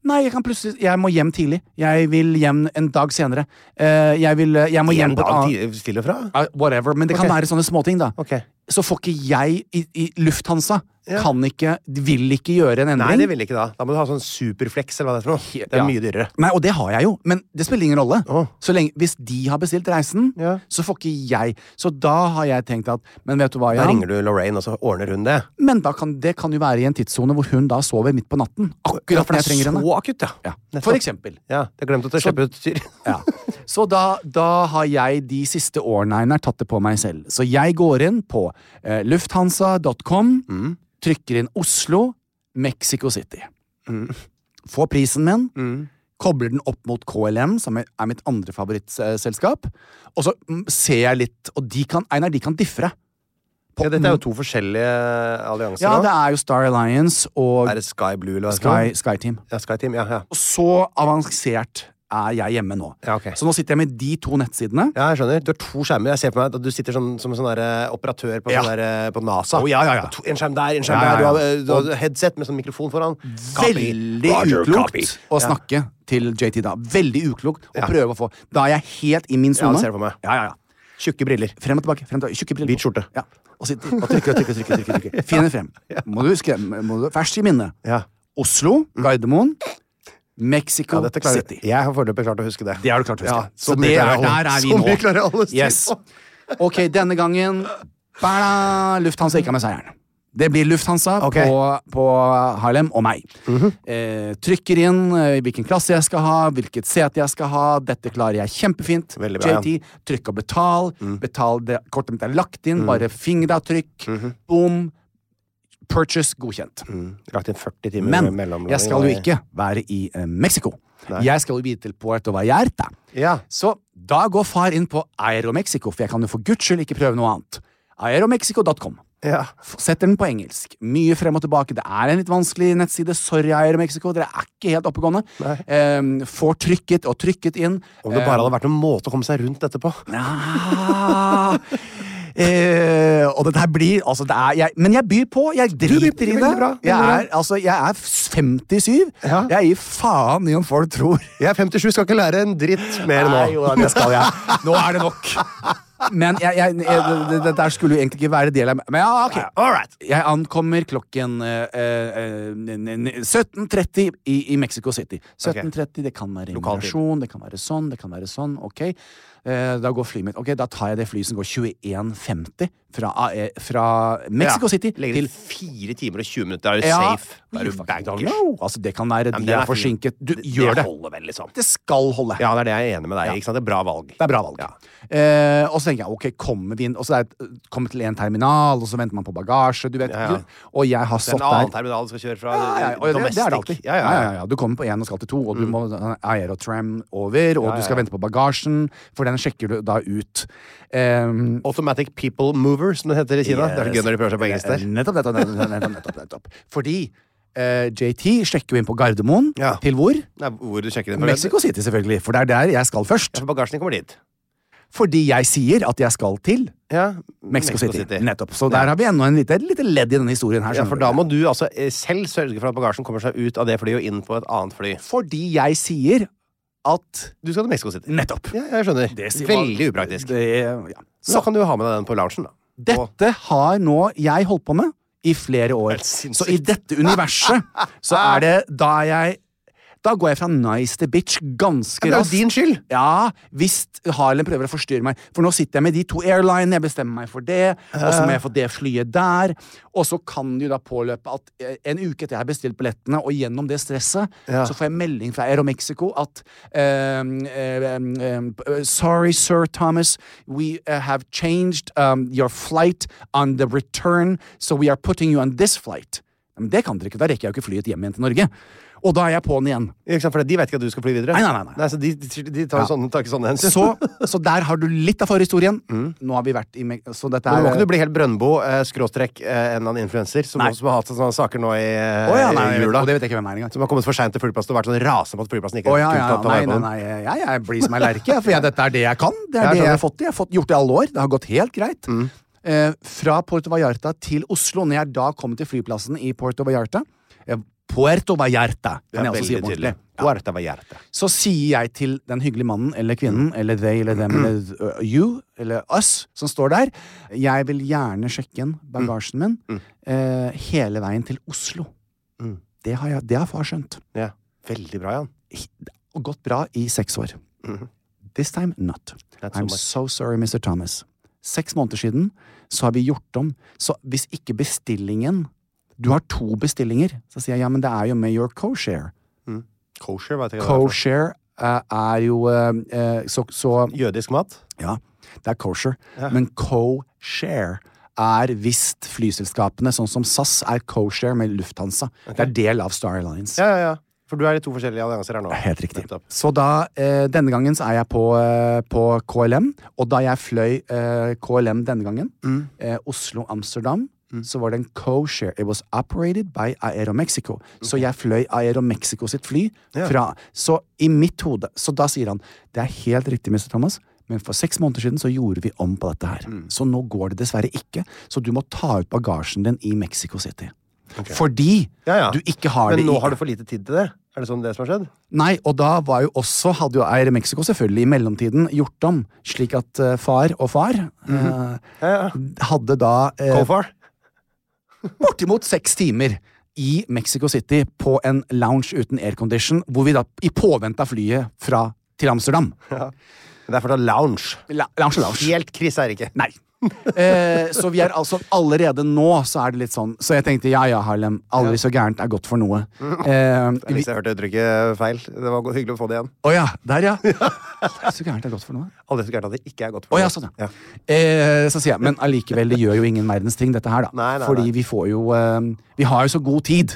A: Nei, jeg kan plutselig Jeg må hjem tidlig. Jeg vil hjem en dag senere. Eh, jeg vil eh, Jeg må hjem
C: En
A: på et
C: dag
A: annet
C: tidlig- til og fra?
A: Ja, Whatever. Men det kan
C: Ok.
A: være sånne småting, da.
C: Ok.
A: Så får ikke jeg i, i Lufthansa
C: Ja.
A: Kan ikke Vil ikke gjøre en endring.
C: Nei, det vil ikke da. Da må du ha sånn superflex eller hva det er for noe. Det er
A: Ja.
C: mye dyrere.
A: Nei, og det har jeg jo, men det spiller ingen rolle.
C: Åh.
A: Så lenge, hvis de har bestilt reisen,
C: Ja.
A: så får ikke jeg Så da har jeg tenkt at Men vet du hva,
C: Da
A: Jan?
C: ringer du Lorraine, og så ordner hun det.
A: Men da kan, det kan jo være i en tidssone hvor hun da sover midt på natten.
C: Ja,
A: Akkurat
C: for
A: når
C: det
A: jeg trenger
C: er så
A: henne.
C: akutt, ja.
A: Ja.
C: Nettopp.
A: For eksempel.
C: Ja, jeg glemte å
A: Så-
C: slippe ut syr.
A: Ja. Så da, da har jeg de siste årene Einar, tatt det på meg selv. Så jeg går inn på eh, lufthansa.com,
C: Mm.
A: trykker inn Oslo, Mexico City.
C: Mm.
A: Får prisen min, kobler den opp mot KLM, som er er mitt andre favorittselskap. Og så mm, ser jeg litt, og de kan, Einar, de kan differe. På-
C: Ja, dette er jo to forskjellige eh, allianser.
A: Ja,
C: nå.
A: det er jo Star Alliance og
C: Er det Sky Blue eller hva det
A: Sky,
C: heter?
A: Sky Team.
C: Ja, Sky Team, ja, ja.
A: Og så avansert er jeg hjemme nå.
C: Ja, ok.
A: Så nå sitter jeg med de to nettsidene.
C: Ja, jeg skjønner. Du har to skjermer. Jeg ser på meg at du sitter sånn, som en sånn der, eh, operatør på,
A: Ja.
C: sånn der, eh, på NASA.
A: Å, ja, ja, ja.
C: To, en skjerm der, en skjerm
A: Ja, ja, ja.
C: der. Du har, eh, Du har, headset med sånn mikrofon foran.
A: Veldig uklokt å snakke til JT da. Veldig uklokt å
C: Ja.
A: prøve å få Da er jeg helt i min
C: Ja,
A: sone.
C: det ser jeg for meg.
A: ja, ja, ja.
C: Tjukke briller.
A: Frem og tilbake. frem og tilbake. Tjukke briller.
C: Hvit skjorte.
A: Ja. Og sitter og trykker og trykker. trykker, trykker, trykker. Finn en frem. Må du huske, må du, ferskt i minne.
C: Ja. Mm.
A: Oslo, Gardermoen, Mexico
C: Ja, dette klarer
A: City.
C: Jeg har foreløpig klart å huske det.
A: Det har du klart å huske.
C: Ja,
A: så
C: så mye
A: det er,
C: klarer jeg alle-
A: der er vi
C: så
A: nå.
C: mye klarer jeg alle å si
A: yes.
C: på.
A: Ok, denne gangen Bæla! Lufthansa ikke har med seieren. Det blir Lufthansa
C: Ok.
A: på, på Harlem og meg. eh, trykker inn eh, hvilken klasse jeg skal ha, hvilket sete jeg skal ha. Dette klarer jeg kjempefint.
C: Veldig bra, ja.
A: JT, trykk og betal. Betal det kortet mitt er lagt inn. Bare fingeravtrykk. Boom. Purchase godkjent.
C: Mm, Lagt inn 40 timer
A: Men
C: mellomlanding,
A: jeg skal jo
C: og-
A: ikke være i eh, Mexico. Jeg skal jo videre til Puerto Vallarta.
C: Ja.
A: Så da går far inn på Aeromexico, for jeg kan jo for guds skyld ikke prøve noe annet. Aeromexico.com.
C: Ja.
A: F- Setter den på engelsk. Mye frem og tilbake. Det er en litt vanskelig nettside. Sorry, Aeromexico. Dere er ikke helt oppegående. Ehm, får trykket og trykket inn. Eh,
C: Om det bare hadde vært noen måte å komme seg rundt dette på.
A: Ah. Eh, og dette her blir altså det er, jeg, Men jeg byr på. Jeg driter i det.
C: veldig bra, veldig
A: Jeg
C: bra.
A: er, altså, jeg er 57.
C: Ja.
A: Jeg gir faen i om folk tror
C: Jeg er 57, skal ikke lære en dritt mer nå.
A: Nei, jo da, det skal jeg. Nå er det nok. Men jeg, jeg, jeg, det- det, det der skulle jo egentlig ikke være del av Men ja, ok. Jeg ankommer klokken eh, eh, n- n- 17.30 i, i Mexico City. 17.30, Det kan være
C: Lokal tid.
A: immigrasjon, det kan være sånn, det kan være sånn. Ok, Eh, da går flyet mitt. Ok, Da tar jeg det flyet som går 21.50 fra, eh, fra Mexico City
C: Legger
A: til
C: til fire timer og 20 minutter. Da er du
A: Ja,
C: safe. Da er
A: you
C: du
A: fucking
C: bankers.
A: know. Altså, det kan være
C: Ja,
A: de er,
C: men den fin.
A: forsinket. Du
C: Det-
A: gjør det.
C: Det holder vel, liksom.
A: Det skal holde.
C: Ja, det er det jeg er enig med deg i. ikke sant? Det er bra valg.
A: Det er bra valg.
C: Ja.
A: Eh, og så tenker jeg, ok, kommer vi inn Og så er det et- kommer til en terminal, og så venter man på bagasje, du vet.
C: Ja, ja.
A: Og jeg har
C: Det er
A: stått
C: en annen
A: der
C: terminal du skal kjøre fra.
A: ja, ja, og det, det er det alltid.
C: domestic. Ja, Mm. ja, ja.
A: ja, ja. Du kommer på én og skal til to, og du må ha aerotram over, og du skal vente på bagasjen, for den sjekker du da ut. Um,
C: Automatic People Mover, som det heter i Kina. Det er så gøy når de prøver seg på engelsk der.
A: Eh, Nettopp, nettopp, nettopp. nettopp, nettopp, nettopp. Fordi eh, JT sjekker jo inn på Gardermoen.
C: Ja.
A: Til hvor?
C: Nei, hvor du sjekker inn fra.
A: Mexico City, selvfølgelig. For det er der jeg skal først.
C: Ja, for bagasjen din kommer dit.
A: Fordi jeg sier at jeg skal til
C: Ja,
A: Mexico City. Nettopp. Så der har vi enda en lite, et lite ledd i denne historien her.
C: Ja,
A: skjønner
C: for da
A: du.
C: må du altså eh, selv sørge for at bagasjen kommer seg ut av det flyet og inn på et annet fly.
A: Fordi jeg sier at
C: Du skal til Mexico City.
A: Nettopp.
C: Ja, jeg skjønner.
A: Det sier-
C: Veldig upraktisk.
A: Det, ja.
C: Så da kan du jo ha med deg den på loungen, da. Og-
A: Dette har nå jeg holdt på med i flere år.
C: Helt sinnssykt.
A: Så i dette universet så er det da jeg Da går jeg fra nice til bitch ganske
C: Ja, det er jo
A: raskt.
C: din skyld.
A: Ja, hvis Harlem prøver å forstyrre meg. For nå sitter jeg med de to airlinene, jeg bestemmer meg for det, og så må jeg få det flyet der. Og så kan det jo da påløpe at eh, en uke etter jeg har bestilt billettene, og gjennom det stresset, så får jeg melding fra Aero Mexico at ehm, ehm, ehm, eh, Sorry, sir Thomas, we eh, have changed um, your flight on the return, so we are putting you on this flight. Men det kan dere ikke, da rekker jeg jo ikke flyet hjem igjen til Norge. Og da er jeg på'n igjen.
C: Ikke sant? For de vet ikke at du skal fly videre.
A: Nei, nei, nei, nei.
C: så de, de, de tar, jo sånne, tar ikke sånne hensyn.
A: Så, så der har du litt av forhistorien. Nå har vi vært i Me- Så dette
C: Men
A: er
C: Mm. Nå må ikke du bli helt Brøndbo, eh, skråstrek, eh, en eller annen influenser, som
A: Nei.
C: også har hatt sånne saker nå i eh,
A: Å ja, nei, jeg vet-
C: jula.
A: og det vet jeg ikke hvem er engang.
C: Som har kommet for seint til flyplassen og vært sånn rasende på at flyplassen ikke
A: Å ja, ja,
C: kunne ta
A: nei,
C: vare
A: nei,
C: på den.
A: nei, jeg, jeg blir som ei lerke, jeg, for jeg, dette er det jeg kan. Det er det jeg
C: Jeg
A: har
C: skjønner. Mm.
A: fått til. Jeg har fått, gjort det i alle år. Det har gått helt greit. Eh, fra Puerto Vallarta til Oslo, når jeg da kom til flyplassen i Puerto Vallarta eh, Puerto Vallarta,
C: Det
A: kan jeg
C: er
A: også si
C: veldig
A: på
C: tydelig.
A: ordentlig.
C: Huerta Vallarta.
A: Så sier jeg til den hyggelige mannen eller kvinnen eller they eller them eller uh, you eller us som står der Jeg vil gjerne sjekke inn bagasjen min
C: Mm.
A: eh, hele veien til Oslo. Det, har jeg, det har far skjønt.
C: Ja. Veldig bra, Jan.
A: Og gått bra i seks år. This time not.
C: Not Mm-hmm. so
A: I'm
C: much.
A: so sorry, Mr. Thomas. Seks måneder siden så har vi gjort om. Så hvis ikke bestillingen Du har to bestillinger. Så sier jeg ja, men det er jo med your co-share.
C: Kosher, vet jeg hva det er.
A: Co-share eh, er jo eh, eh, så, så
C: for. Jødisk mat.
A: ja, det er kosher. Men co-share er visst flyselskapene, sånn som SAS, er co-share med Lufthansa. Det er del av Star Alliance.
C: Ja, ja, ja. For du er i to forskjellige allianser her nå.
A: Helt riktig.
C: Nettopp.
A: Så da, eh, denne gangen så er jeg på, eh, på KLM, og da jeg fløy eh, KLM denne gangen,
C: Mm.
A: eh, Oslo-Amsterdam, så var det en co-share. It was operated by Aeromexico. Så jeg fløy Aeromexico sitt fly fra Så i mitt hode Så da sier han det er helt riktig, Mr. Thomas. Men for seks måneder siden så gjorde vi om på dette her.
C: Mm.
A: Så nå går det dessverre ikke. Så du må ta ut bagasjen din i Mexico City. Fordi
C: Ja, ja.
A: du ikke har det
C: Men
A: i
C: nå har du for lite tid til det? Er det sånn det som har skjedd?
A: Nei, og da var jo også, hadde jo Air Mexico selvfølgelig i mellomtiden gjort om, slik at eh, far og far eh,
C: Ja, ja.
A: hadde da eh,
C: Kofar?
A: bortimot seks timer i Mexico City på en lounge uten aircondition, hvor vi da i påvente av flyet fra til Amsterdam.
C: Det er for da lounge.
A: La, lounge, lounge.
C: Helt krise er det ikke.
A: Nei. Eh, så vi er altså allerede nå, så er det litt sånn Så jeg tenkte ja ja, Harlem, aldri så gærent er godt for noe. Eh, vi,
C: Hvis jeg hørte uttrykket feil. Det var hyggelig å få det igjen.
A: å ja, der ja. Aldri så gærent er godt for noe.
C: Aldri så gærent at det ikke er godt
A: Å
C: for
A: ja,
C: deg.
A: sånn, ja. Eh, så sier jeg, men allikevel, det gjør jo ingen verdens ting, dette her, da.
C: Nei, nei,
A: Fordi
C: nei. Mm.
A: vi får jo eh, Vi har jo så god tid.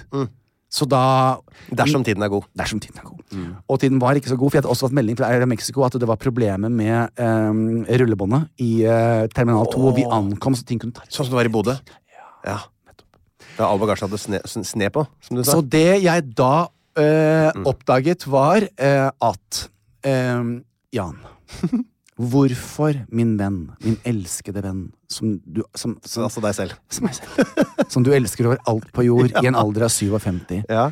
A: Så da
C: Dersom tiden er god.
A: Dersom tiden er god.
C: Mm.
A: Og tiden var ikke så god, for jeg hadde også fått melding fra Air Mexico at det var problemer med eh, rullebåndet i eh, terminal 2, og vi ankom, så ting kunne ta
C: Sånn som det var i Bodø? Ja. Da all bagasjen hadde sne, sn- sne på, som du sa.
A: Så det jeg da eh,
C: Mm.
A: oppdaget, var eh, at eh, Jan Hvorfor, min venn, min elskede venn, som du som,
C: Så,
A: som,
C: altså deg selv.
A: som jeg selv. Som du elsker over alt på jord, i en alder av 57.
C: Ja.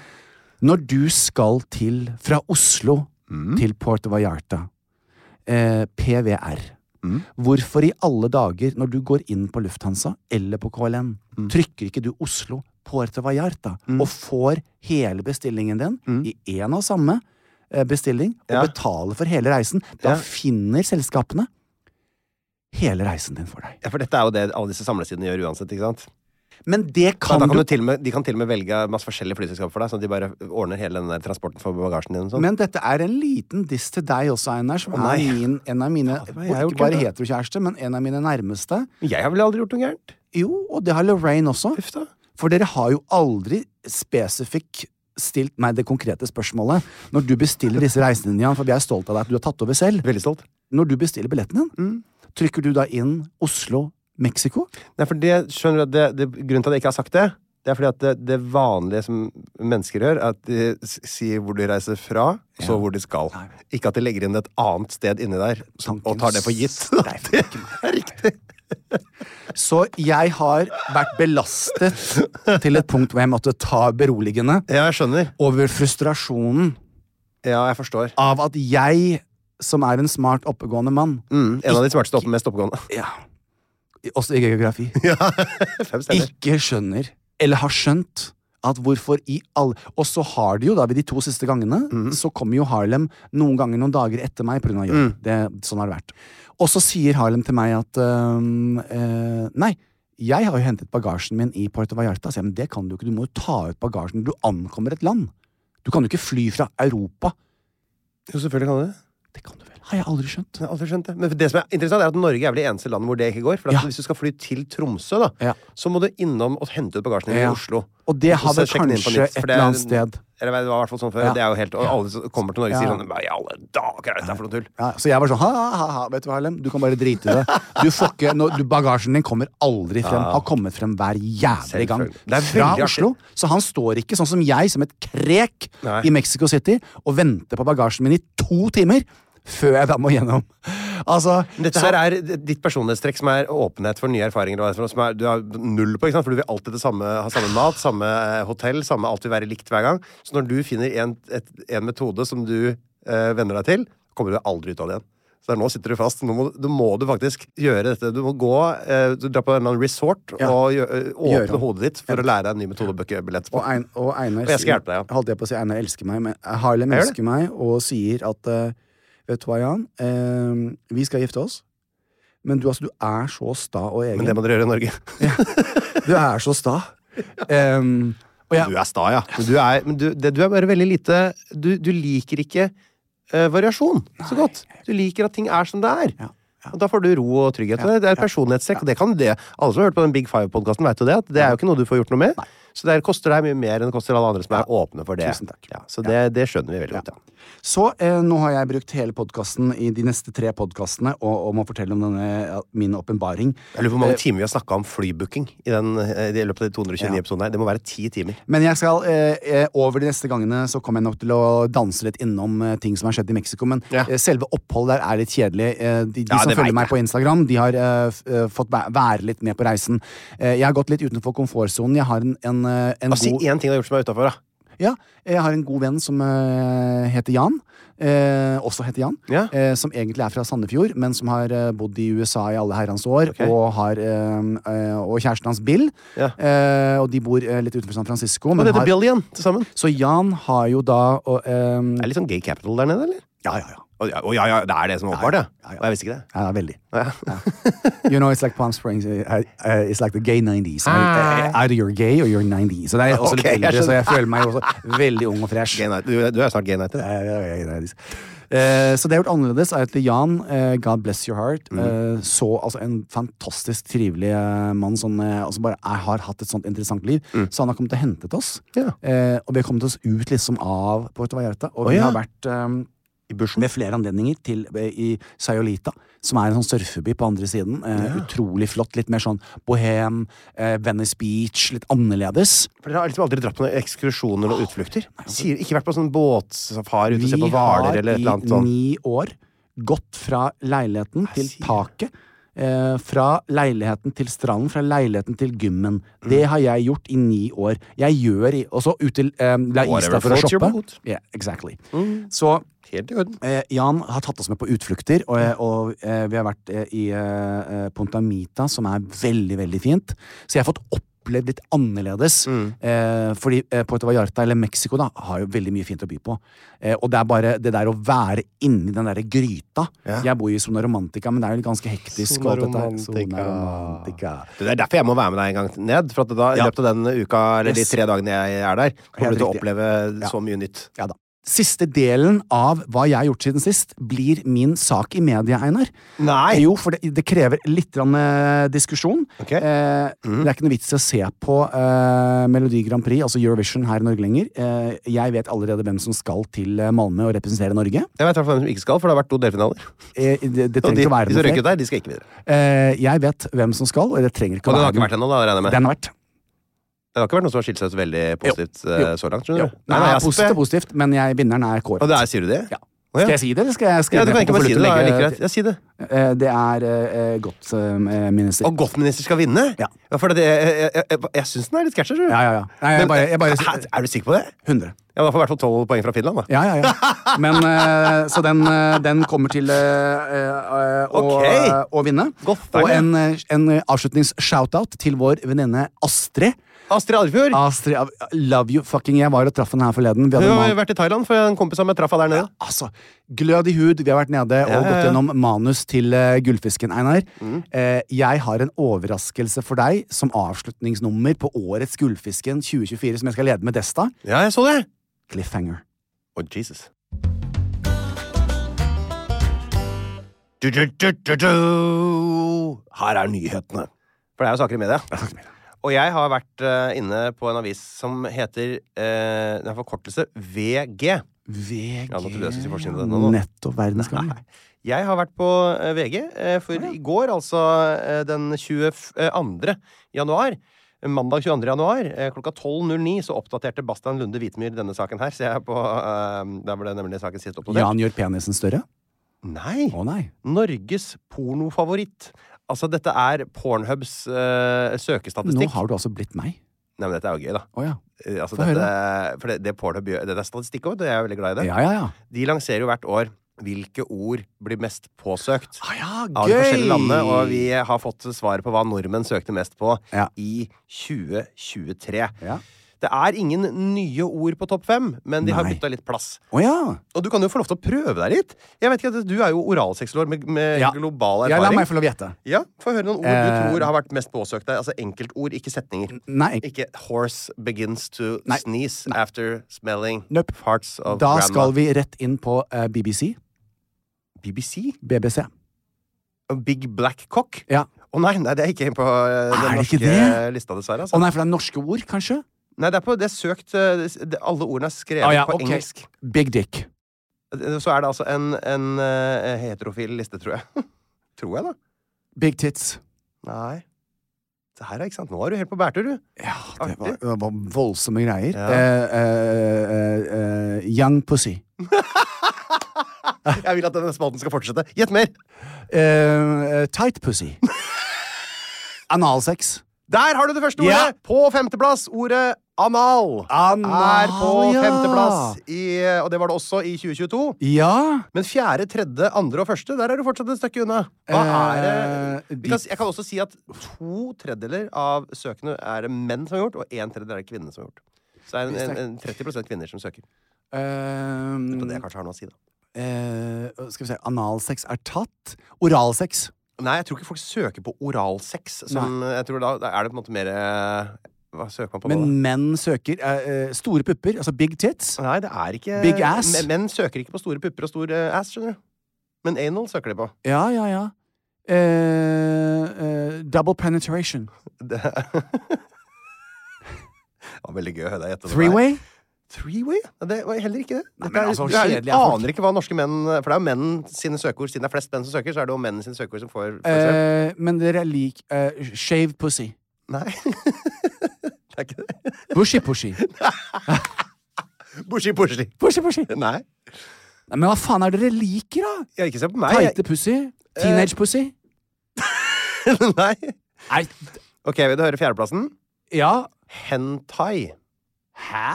A: Når du skal til, fra Oslo
C: Mm.
A: til Puerto Vallarta, eh, PVR,
C: Mm.
A: hvorfor i alle dager, når du går inn på Lufthansa eller på KLM,
C: Mm.
A: trykker ikke du Oslo, Puerto Vallarta, og får hele bestillingen din i én og samme eh, bestilling, og
C: Mm. Ja.
A: betaler for hele reisen? Da
C: Ja.
A: finner selskapene hele reisen din for deg.
C: Ja, for dette er jo det alle disse samlesidene gjør uansett, ikke sant?
A: Men det
C: Da,
A: kan,
C: da kan
A: du,
C: du til og med, de kan til og med velge masse forskjellige flyselskaper for deg, sånn at de bare ordner hele den der transporten for bagasjen din og sånn.
A: Men dette er en liten diss til deg også, Einar, som
C: nei.
A: er min, en av mine
C: Fader,
A: og
C: men jeg har
A: Ikke
C: gjort
A: bare
C: det.
A: heterokjæreste, men en av mine nærmeste.
C: Jeg har vel aldri gjort noe gærent?
A: Jo, og det har Lorraine også.
C: Uff da.
A: For dere har jo aldri spesifikk stilt meg det konkrete spørsmålet når du bestiller disse reisene dine, Jan, for vi er stolt av deg at du har tatt over selv.
C: Veldig stolt.
A: Når du bestiller billetten din,
C: Mm.
A: trykker du da inn Oslo, Mexico?
C: Nei, for det, skjønner du, at det, det, grunnen til at jeg ikke har sagt det, det er fordi at det, det vanlige som mennesker gjør, er at de s- sier hvor de reiser fra, og så hvor de skal. Ikke at de legger inn et annet sted inni der, som, og
A: Tanken
C: tar det for gitt.
A: streifer
C: Det er riktig.
A: Så jeg har vært belastet til et punkt hvor jeg måtte ta beroligende
C: Ja, jeg skjønner.
A: over frustrasjonen
C: Ja, jeg forstår.
A: av at jeg, som er en smart, oppegående mann
C: Mm, en av de smarteste opp, mest oppegående.
A: ja, Også i geografi.
C: Fem stjerner.
A: ikke skjønner, eller har skjønt, at hvorfor i alle Og så har de jo, da, ved de to siste gangene, så kommer jo Harlem noen ganger noen dager etter meg pga. jobb. Det, sånn har det vært. Og så sier Harlem til meg at øhm, eh, Nei, jeg har jo hentet bagasjen min i Puerto Vallarta. Så jeg, men det kan du ikke. Du må jo ta ut bagasjen når du ankommer et land. Du kan jo ikke fly fra Europa.
C: Jo, selvfølgelig kan du det.
A: Det kan du vel? Har jeg aldri skjønt.
C: Jeg har aldri skjønt det. Men det som er interessant, er at Norge er vel det eneste landet hvor det ikke går. For at
A: Ja.
C: Hvis du skal fly til Tromsø, da,
A: Ja.
C: så må du innom og hente ut bagasjen din
A: Ja.
C: i Oslo.
A: Og det har
C: så
A: vel
C: sjekke den inn på
A: kanskje
C: nytt,
A: et
C: for det er-
A: eller annet sted.
C: Eller det var i hvert fall sånn før.
A: Ja.
C: Det er jo helt, og alle som kommer til Norge,
A: Ja.
C: sier sånn "Hva i alle dager er dette for noe tull?
A: Ja, så jeg var sånn ha, ha, ha, ha, vet du hva, Harlem? Du kan bare drite i det. Du får ikke, nå- du, bagasjen din kommer aldri frem. Har kommet frem hver jævlig gang.
C: Selvfølgelig. Det er
A: Fra
C: veldig artig.
A: Oslo. Så han står ikke sånn som jeg, som et krek
C: Nei.
A: i Mexico City, og venter på bagasjen min i to timer før jeg da må gjennom. Altså,
C: Dette her er ditt personlighetstrekk som er åpenhet for nye erfaringer. og hva Som er, du har null på, ikke sant? For du vil alltid det samme, ha samme mat, samme eh, hotell, samme alt vil være likt hver gang. Så når du finner en, et, en metode som du eh, venner deg til, kommer du aldri ut av det igjen. Så der, nå sitter du fast. Nå må, da må du faktisk gjøre dette. Du må gå, eh, du drar på en eller annen resort
A: Ja.
C: og gjø- eh,
A: Gjøre
C: åpne
A: det.
C: hodet ditt for å lære deg en ny metode å booke billett på.
A: Og, Ein, og Einar
C: Og jeg skal
A: sier-
C: hjelpe deg, ja.
A: Holdt jeg på å si Einar elsker meg, men eh, Harlem
C: Jeg gjør
A: elsker meg og sier at eh, Vet du hva, Jan? Eh, vi skal gifte oss. Men du, altså, du er så sta og egen.
C: Men det må dere gjøre i Norge.
A: Du er så sta. Em, og jeg,
C: Du er sta, ja. Men du er, men du, det, du er bare veldig lite Du, du liker ikke eh, variasjon så godt. Du liker at ting er som det er. Og Da får du ro og trygghet. og Det Det er personlighetstrekk. og Det kan det. Alle som har hørt på den Big Five-podkasten, vet jo det. At det er jo ikke noe du får gjort noe med. Så det her koster deg mye mer enn det koster alle andre som er åpne for det.
A: Tusen takk.
C: Ja, så det, det skjønner vi veldig godt, ja.
A: Så eh, nå har jeg brukt hele podkasten i de neste tre podkastene om å fortelle om denne ja, min åpenbaring.
C: Jeg lurer på hvor
A: Eh,
C: mange timer vi har snakka om flybooking i, den, eh, i løpet av de 229 episodene her. Det må være ti timer.
A: Men jeg skal eh, eh, over de neste gangene så kommer jeg nok til å danse litt innom eh, ting som har skjedd i Mexico. Men
C: Ja.
A: eh, selve oppholdet der er litt kjedelig. Eh, de de
C: Ja,
A: som
C: det vet
A: følger meg
C: jeg.
A: på Instagram, de har eh, f- eh, fått væ- være litt med på reisen. Eh, jeg har gått litt utenfor komfortsonen. Jeg har en, en, eh, en
C: Og Si
A: god
C: én ting du har gjort som er utafor, da.
A: Ja, jeg har en god venn som eh, heter Jan. eh, også heter Jan.
C: Ja.
A: eh, som egentlig er fra Sandefjord, men som har eh, bodd i USA i alle herrens år.
C: Ok.
A: Og, har, eh, eh, og kjæresten hans, Bill.
C: Ja.
A: eh, og de bor eh, litt utenfor San Francisco.
C: Og
A: Men
C: det
A: har,
C: heter Billion til sammen.
A: så Jan har jo da og, eh,
C: Er det litt sånn gay capital der nede, eller?
A: Ja, ja, ja.
C: Å ja, å ja, ja, det er det som er åpenbart, ja.
A: Ja, ja.
C: Og jeg visste ikke det.
A: Ja, veldig.
C: Ja.
A: You know, it's like Palm Springs. eh, eh, eh, it's like the gay 90s. Eh, eh, Either you're gay or you're 90. Så det er også
C: Ah. Ok,
A: litt
C: jeg
A: eldre, så
C: skjønner.
A: jeg føler meg jo også veldig ung og fresh.
C: Gay night. Du, du er snart gay nighter.
A: Ja, ja, ja, ja, ja. Eh, Så det jeg har gjort annerledes, er at Jan, eh, God bless your heart,
C: Mm.
A: eh, så altså en fantastisk trivelig eh, mann som eh, altså bare er, har hatt et sånt interessant liv. Så han har kommet og hentet oss.
C: Mm. Ja.
A: Eh, Og vi har kommet oss ut liksom av Puerto Vallarta, og
C: Å,
A: vi
C: ja.
A: har vært eh,
C: I bushen.
A: ved flere anledninger til, eh, i Sayolita, som er en sånn surfeby på andre siden. Eh, Utrolig flott. Litt mer sånn bohem, eh, Venice Beach, litt annerledes.
C: For Dere har liksom aldri dratt på noen ekskursjoner eller utflukter? Sier, ikke vært på sånn båtsafari ute og se
A: Vi
C: på hvaler eller et eller annet sånn?
A: har i
C: sånt?
A: ni år gått fra leiligheten til
C: sier
A: taket. Eh, fra leiligheten til stranden, fra leiligheten til gymmen. Det
C: Mm.
A: har jeg gjort i ni år. Jeg gjør i Og så ut til eh, La
C: Whatever
A: Ista for å
C: floats your
A: shoppe.
C: boat. Mm.
A: Yeah, exactly. Så
C: Helt i orden.
A: Eh, Jan har tatt oss med på utflukter, og, og eh, vi har vært eh, i eh, eh, Punta Mita, som er veldig, veldig fint. Så jeg har fått oppleve opplevd litt annerledes. Eh, fordi eh, Puerto Vallarta eller Mexico da, har jo veldig mye fint å by på. Eh, og det er bare det der å være inni den derre gryta. Jeg bor jo i Sona Romantica, men det er jo ganske hektisk. og alt dette her.
C: Zona
A: Zona Romantica.
C: Det er derfor jeg må være med deg en gang ned. For at da, i
A: Ja.
C: løpet av den uka, eller de
A: Yes.
C: tre dagene jeg er der, kommer du til å
A: riktig.
C: oppleve så mye nytt.
A: Ja da. Siste delen av hva jeg har gjort siden sist, blir min sak i media, Einar.
C: Nei.
A: Jo, for det, det krever litt grann, eh, diskusjon.
C: Ok. Mm.
A: Eh, Det er ikke noe vits i å se på eh, Melodi Grand Prix, altså Eurovision, her i Norge lenger. Eh, jeg vet allerede hvem som skal til eh, Malmö og representere Norge.
C: Jeg vet i hvert fall hvem som ikke skal, for det har vært to delfinaler.
A: Eh, det, det
C: Og
A: trenger
C: de,
A: ikke å være
C: de som
A: noe
C: røyk
A: flere.
C: ut der, de skal ikke videre.
A: Eh, jeg vet hvem som skal, og det trenger ikke
C: Og
A: å
C: den har
A: være
C: ikke vært Mm. ennå, da, regner jeg med.
A: Den har vært.
C: Det har ikke vært noen som har skilt seg ut veldig positivt
A: Jo.
C: eh, så langt,
A: Jo.
C: skjønner du?
A: Nei,
C: jeg-
A: positivt, positivt, men jeg, vinneren er kåret.
C: Og det er, sier du det?
A: Ja.
C: Å, ja.
A: Skal jeg si det, eller skal jeg
C: Ja,
A: skrive
C: du kan
A: på
C: ikke bare si det, da.
A: fullt
C: Jeg
A: legge-
C: liker det. Ja, si det.
A: Eh, Det er eh, godt, eh, minister.
C: Og Goff-minister skal vinne?
A: Ja.
C: for det, jeg jeg, jeg, jeg, jeg syns den er litt skæsj, skjønner du.
A: Ja, ja, ja. Nei, jeg
C: Men, eh,
A: bare, jeg bare
C: hæ, er du sikker på det?
A: 100.
C: Jeg har i hvert fall tolv poeng fra Finland, da.
A: Ja, ja, ja. Men, eh, så den, eh, den kommer til eh, eh, å,
C: Ok.
A: å vinne.
C: Godt,
A: Og
C: det.
A: en, eh, en avslutnings-shoutout til vår venninne Astrid.
C: Astrid Arvfjord!
A: Astrid, I love you fucking Jeg var og traff henne her forleden. Vi
C: Hun
A: hadde
C: har jo
A: man,
C: vært i Thailand, for en kompis av meg traff henne der nede.
A: altså, glød i hud. Vi har vært nede og
C: Ja, ja,
A: gått
C: ja. Mm.
A: gjennom manus til eh, Gullfisken, Einar. Eh, jeg har en overraskelse for deg som avslutningsnummer på årets Gullfisken 2024, som jeg skal lede med Desta.
C: Ja, jeg så det!
A: Cliffhanger.
C: Oh, Jesus. Du, du, du, du, du. Her er nyhetene. For det er jo saker i media. Og jeg har vært eh, inne på en avis som heter eh, Det er forkortelse VG.
A: VG
C: Ja, nå trodde jeg skulle si forsiden av den nå, nå.
A: Nettopp verdensgang.
C: Nei. Jeg har vært på eh, VG, eh, for i går, altså eh, den 22. januar eh, Mandag 22. januar eh, klokka 12.09 så oppdaterte Bastian Lunde Hvitmyr denne saken her. Ser jeg på eh, Der ble nemlig saken sist oppdatert.
A: Jan gjør penisen større?
C: Nei!
A: Å nei.
C: Norges pornofavoritt. Altså, dette er Pornhubs eh,
A: Nå
C: søkestatistikk.
A: har du altså blitt meg.
C: Nei, men dette er jo gøy, da.
A: Å ja.
C: Eh, Altså,
A: Få høre.
C: dette, for det, det Pornhub gjør, dette er statistikk òg, og jeg er veldig glad i det.
A: Ja, ja, ja.
C: De lanserer jo hvert år hvilke ord blir mest påsøkt
A: Ah, ja
C: av de forskjellige landene, og vi har fått svaret på hva nordmenn søkte mest på
A: Ja.
C: i 2023.
A: Ja.
C: Det er ingen nye ord på topp fem, men de har
A: Nei.
C: bytta litt plass.
A: Å ja.
C: Og du kan jo få lov til å prøve deg litt. Jeg vet ikke, at Du er jo oralseksolog med, med
A: Ja.
C: global
A: Jeg lar
C: erfaring.
A: meg få lov å gjette.
C: Ja, Få høre noen ord
A: Eh,
C: du tror har vært mest påsøkt der. Altså enkeltord, ikke setninger.
A: Nei, ikke-
C: Ikke 'horse begins to
A: Nei.
C: sneeze after smelling
A: Nope.
C: parts of
A: da
C: grandma'.
A: skal vi rett inn på eh, BBC.
C: BBC?
A: BBC.
C: Big Black Cock? Å
A: Ja.
C: nei, nei, det er ikke på eh, den
A: Er det ikke
C: norske
A: det?
C: lista, dessverre.
A: Å
C: Altså.
A: nei, for det er norske ord, kanskje?
C: Nei, det er på det er søkt eh, det- det- Alle ordene er skrevet
A: Ah, ja,
C: på
A: ok.
C: engelsk.
A: Big Dick.
C: Så er det altså en, en eh, heterofil liste, tror jeg. tror jeg, da.
A: Big Tits.
C: Nei. Det her er ikke sant. Nå er du helt på bærtur, du.
A: Ja, det var,
C: Artig.
A: det var voldsomme greier.
C: Ja.
A: Eh, eh, eh, eh, young Pussy.
C: Jeg vil at denne spalten skal fortsette. Gjett mer!
A: Eh, eh, tight Pussy. Analsex.
C: Der har du det første ordet!
A: Ja.
C: På femteplass. Ordet anal.
A: Anal,
C: er på
A: Ah, ja.
C: femteplass, i, og det var det også i 2022.
A: Ja.
C: Men fjerde, tredje, andre og første, der er du fortsatt et stykke unna. Hva er
A: Eh,
C: det? Vi
A: de-
C: kan, jeg kan også si at to tredjedeler av søkene er det menn som har gjort, og en tredjedel er det kvinnene som har gjort. Så det er en, en, en 30 kvinner som søker.
A: Ehm,
C: På det jeg kanskje har noe å si, da.
A: eh, skal vi se Analsex er tatt. Oralsex.
C: Nei, jeg tror ikke folk søker på oralsex. Som, jeg tror da, da er det på en måte mer eh, Hva søker man på
A: Men
C: nå?
A: menn søker eh, eh, store pupper, altså big tits.
C: da? Nei, det er ikke
A: Big ass?
C: Men- Menn søker ikke på store pupper og stor eh, ass, skjønner du. Men anal søker de på.
A: Ja, ja, ja. Eh, eh, double penetration.
C: Det det var veldig gøy å høre deg gjette. det der.
A: Three-way.
C: Three-way? Ja, Det var heller ikke det. Dette
A: men
C: er-
A: altså,
C: du er-
A: kjedelig er folk.
C: aner ikke hva norske menn For det er jo menn sine søkeord. Siden det er flest menn som søker, så er det jo menn sine søkeord som får først.
A: Eh, men dere er lik eh, shave pussy.
C: Nei. det er ikke det.
A: Bushy pushy.
C: Bushi, bushi.
A: Bushy pushy.
C: Nei.
A: Nei, Men hva faen er dere liker, da?
C: Ja, ikke se på meg.
A: Teite pussy?
C: Eh,
A: Teenage pussy?
C: Jeg, nei.
A: Nei,
C: Ok, vil du høre fjerdeplassen?
A: ja
C: Hentai.
A: Hæ?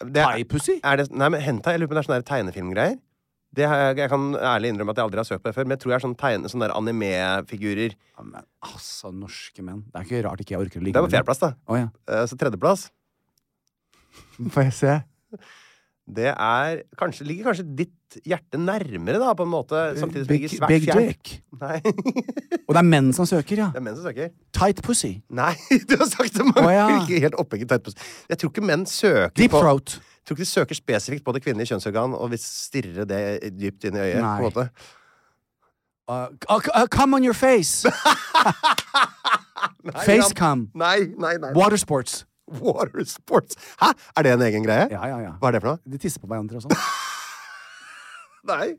C: Det er,
A: Thai-pussy?
C: er det, nei, men hentai, jeg lurer på om det er sånne der tegnefilmgreier. Det har jeg, jeg kan ærlig innrømme at jeg aldri har søkt på det før, men jeg tror jeg er sånn tegne, sånne der anime-figurer.
A: Ja, men altså, norske menn. Det er ikke rart ikke jeg orker å ligge
C: Det er på
A: med dem.
C: fjerdeplass, da.
A: Å ja.
C: Eh, Så tredjeplass,
A: Får jeg se?
C: det er kanskje, Ligger kanskje ditt hjerte nærmere, da, på en måte, samtidig som det
A: Big,
C: ligger svært
A: big
C: fjernt.
A: dick.
C: Nei, det
A: Og det er menn som søker, ja.
C: er menn som søker.
A: Tight pussy.
C: Nei, du har sagt det mange
A: Å, ja.
C: Ikke helt opphengt tett på Jeg tror ikke menn søker
A: Deep
C: på
A: throat. Uh,
C: Jeg tror ikke de søker spesifikt på det kvinnelige kjønnsorgan og vil stirre det dypt inn i øyet.
A: Nei.
C: på en måte.
A: Uh, c- uh, come on your face! face come.
C: Nei, nei, nei.
A: Water sports.
C: Water sports. Hæ? Er det en egen greie?
A: Ja, ja, ja.
C: Hva er det for noe?
A: De tisser på hverandre og sånn.
C: Nei.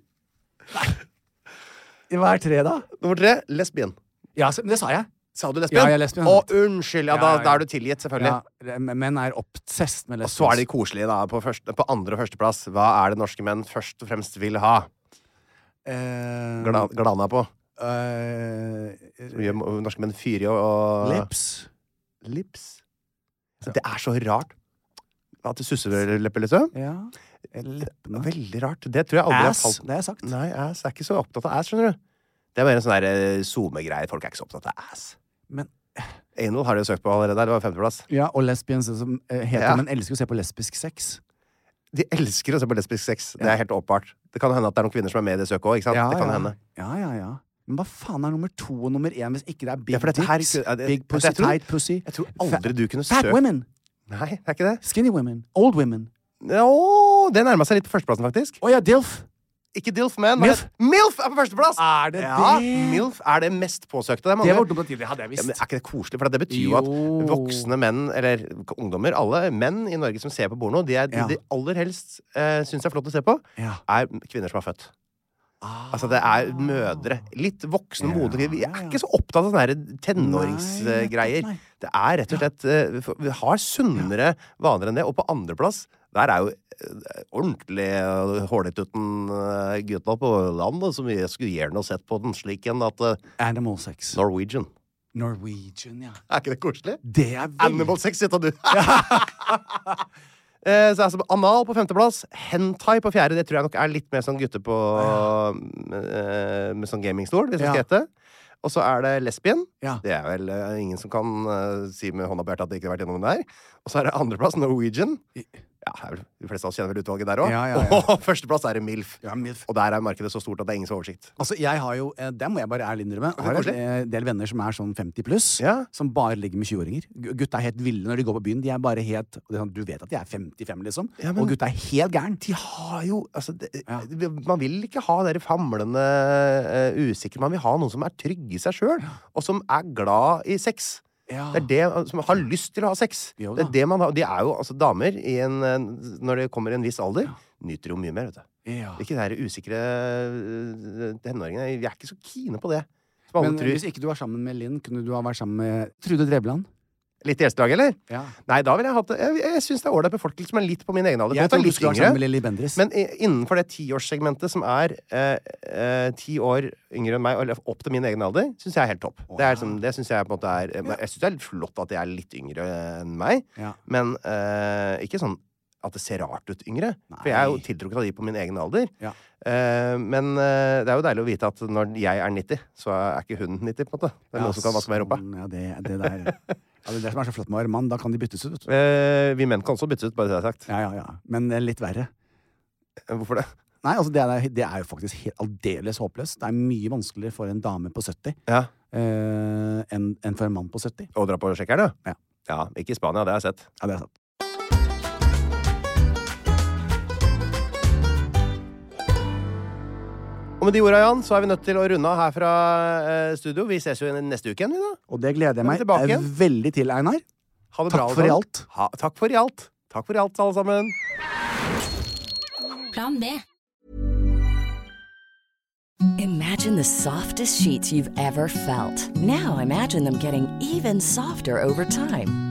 A: Hva er tre, da?
C: Nummer tre lesbien.
A: Ja, så- men det sa jeg.
C: Sa du lesbien?
A: Ja, jeg er lesbien.
C: Å, unnskyld! Ja,
A: Ja,
C: da,
A: ja.
C: da er du tilgitt, selvfølgelig.
A: Ja, det- menn er obsessed med
C: Og så er de
A: lesbisk.
C: koselige, da, på, første, på andre- og førsteplass. Hva er det norske menn først og fremst vil ha?
A: Eh,
C: Gla, glana på.
A: eh,
C: Som gjør norske menn fyrige og, og
A: lips.
C: Lips. Så Det er så rart. At du susser lepper, liksom.
A: Ja. Eh, Leppene.
C: Veldig rart. Det tror jeg aldri har
A: Ass.
C: falt
A: Det har jeg sagt.
C: Nei, ass er ikke så opptatt av ass, skjønner du. Det er bare en sånn der, eh, SoMe-greie. Folk er ikke så opptatt av ass.
A: Men,
C: Anal har de jo søkt på allerede. der, Det var femteplass.
A: ja, og lesbians som eh, heter
C: Ja.
A: Men elsker å se på lesbisk sex.
C: De elsker å se på lesbisk sex. Det er helt åpenbart. Det kan hende at det er noen kvinner som er med i det søket òg.
A: Ja,
C: det kan
A: ja.
C: hende.
A: Ja, ja, ja. Men hva faen er nummer to og nummer én hvis ikke det er big
C: Ja, for dette her-
A: dicks?
C: ja, det-
A: big
C: jeg
A: pussy,
C: tror-
A: tight pussy.
C: Jeg tror aldri du kunne
A: Fat
C: søkt
A: women!
C: Nei, det er ikke det.
A: Skinny women. Old women.
C: Nå, det nærma seg litt på førsteplassen, faktisk.
A: Å ja, DILF!
C: Ikke DILF, men
A: Milf.
C: MILF, MILF er på førsteplass!
A: Er det
C: ja,
A: det?
C: MILF er det mest påsøkte. Det er mange.
A: Det var dumt at det hadde jeg
C: Ja, men
A: visst.
C: er ikke det koselig? For det betyr jo at
A: Jo.
C: voksne menn, eller ungdommer, alle menn i Norge som ser på porno, de, er,
A: Ja.
C: de aller helst eh, syns det er flott å se på,
A: Ja.
C: er kvinner som er født.
A: Ah,
C: Altså, det er mødre. Litt voksne, modne kvinner. Vi er ikke så opptatt av sånne her
A: Nei, nettopp,
C: tenåringsgreier.
A: nei.
C: Det er rett og slett eh, vi får- Vi har sunnere vaner enn det. Og på andreplass, der er jo eh, ordentlig eh, hårdetutten eh, gutta på landet som vi skulle gjerne sett på den slik en at eh,
A: Animal sex.
C: Norwegian.
A: Norwegian, ja.
C: Er ikke det koselig?
A: Det er veldig
C: Animal sex, sier du. Eh, Så altså, Anal på femteplass, hentai på fjerde. Det tror jeg nok er litt mer sånn gutte på eh, Med sånn gamingstol, hvis det
A: Ja.
C: skal hete. Og så er det lesbien.
A: Ja.
C: Det er vel eh, ingen som kan eh, si med hånda på hjertet at de ikke har vært gjennom den der. Og så er det andreplass Norwegian. Ja, det er vel- De fleste av oss kjenner vel utvalget der òg.
A: Ja, ja, ja.
C: Og førsteplass er det MILF.
A: Ja, MILF.
C: Og der er markedet så stort at det er ingen som har oversikt.
A: Altså, jeg har jo, eh, Det må jeg bare ærlig innrømme. Jeg har
C: koselig.
A: en eh, del venner som er sånn 50 pluss,
C: Ja.
A: som bare ligger med 20-åringer. Gu- Gutta er helt ville når de går på byen. De er bare helt, og det er sånn, Du vet at de er 55, liksom.
C: Ja, men-
A: Og gutta er helt gæren.
C: de har jo altså, det,
A: Ja.
C: det- Man vil ikke ha dere famlende eh, usikre. Man vil ha noen som er trygge i seg sjøl, og som er glad i sex.
A: Ja.
C: Det er det eh, som har lyst til å ha sex.
A: Jo
C: det
A: da.
C: er det man har, de er jo altså damer i en, eh, når de kommer i en viss alder, nyter jo mye mer, vet du.
A: Ja.
C: Ikke de her usikre eh, tenåringene. Vi er ikke så kine på det. Som alle
A: Men
C: tror.
A: hvis ikke du var sammen med Linn, kunne du ha vært sammen med Trude Drevland?
C: Litt i eldstedag, eller?
A: Ja.
C: Nei, da vil jeg hatt Jeg, jeg syns det er ålreit med folk som er litt på min egen alder.
A: Jeg
C: Folk er
A: tror du
C: litt
A: skulle vært
C: yngre.
A: sammen med Lilly Bendriss.
C: Men i- innenfor det tiårssegmentet som er eh, eh, ti år yngre enn meg, eller opp til min egen alder, syns jeg er helt topp. Det, er som, det synes jeg på en måte er eh, Jeg syns det er litt flott at de er litt yngre enn meg,
A: Ja.
C: men eh, ikke sånn at det ser rart ut yngre. For jeg er jo tiltrukket av de på min egen alder.
A: Ja.
C: Eh, men eh, det er jo deilig å vite at når jeg er 90, så er ikke hun 90, på en måte. Det er noen som kan vaske meg i rumpa.
A: sånn, Ja, det, det der. Ja, det er det som er så flott med å være mann. Da kan de byttes ut. vet du.
C: Eh, vi menn kan også byttes ut, bare så det er sagt.
A: Ja, ja, ja. Men eh, litt verre.
C: Eh, Hvorfor det?
A: Nei, altså det er, det er jo faktisk helt aldeles håpløst. Det er mye vanskeligere for en dame på 70
C: Ja.
A: eh, enn enn for en mann på 70.
C: Å dra på sjekkeren,
A: Ja.
C: ja? Ikke i Spania, det har jeg sett.
A: Ja, det er sant.
C: Og med de orda, Jan, så er vi nødt til å runde av her fra eh, studio. Vi ses jo igjen neste uke igjen, vi, da.
A: Og det gleder jeg
C: Da er
A: meg
C: vi tilbake
A: eh,
C: igjen.
A: veldig til, Einar.
C: Ha
A: Takk
C: det bra, alle
A: for i
C: sammen.
A: alt.
C: Ha, takk for i alt. Takk for i alt, alle sammen.
D: Plan B. Imagine the softest sheets you've ever felt. Now imagine them getting even softer over time.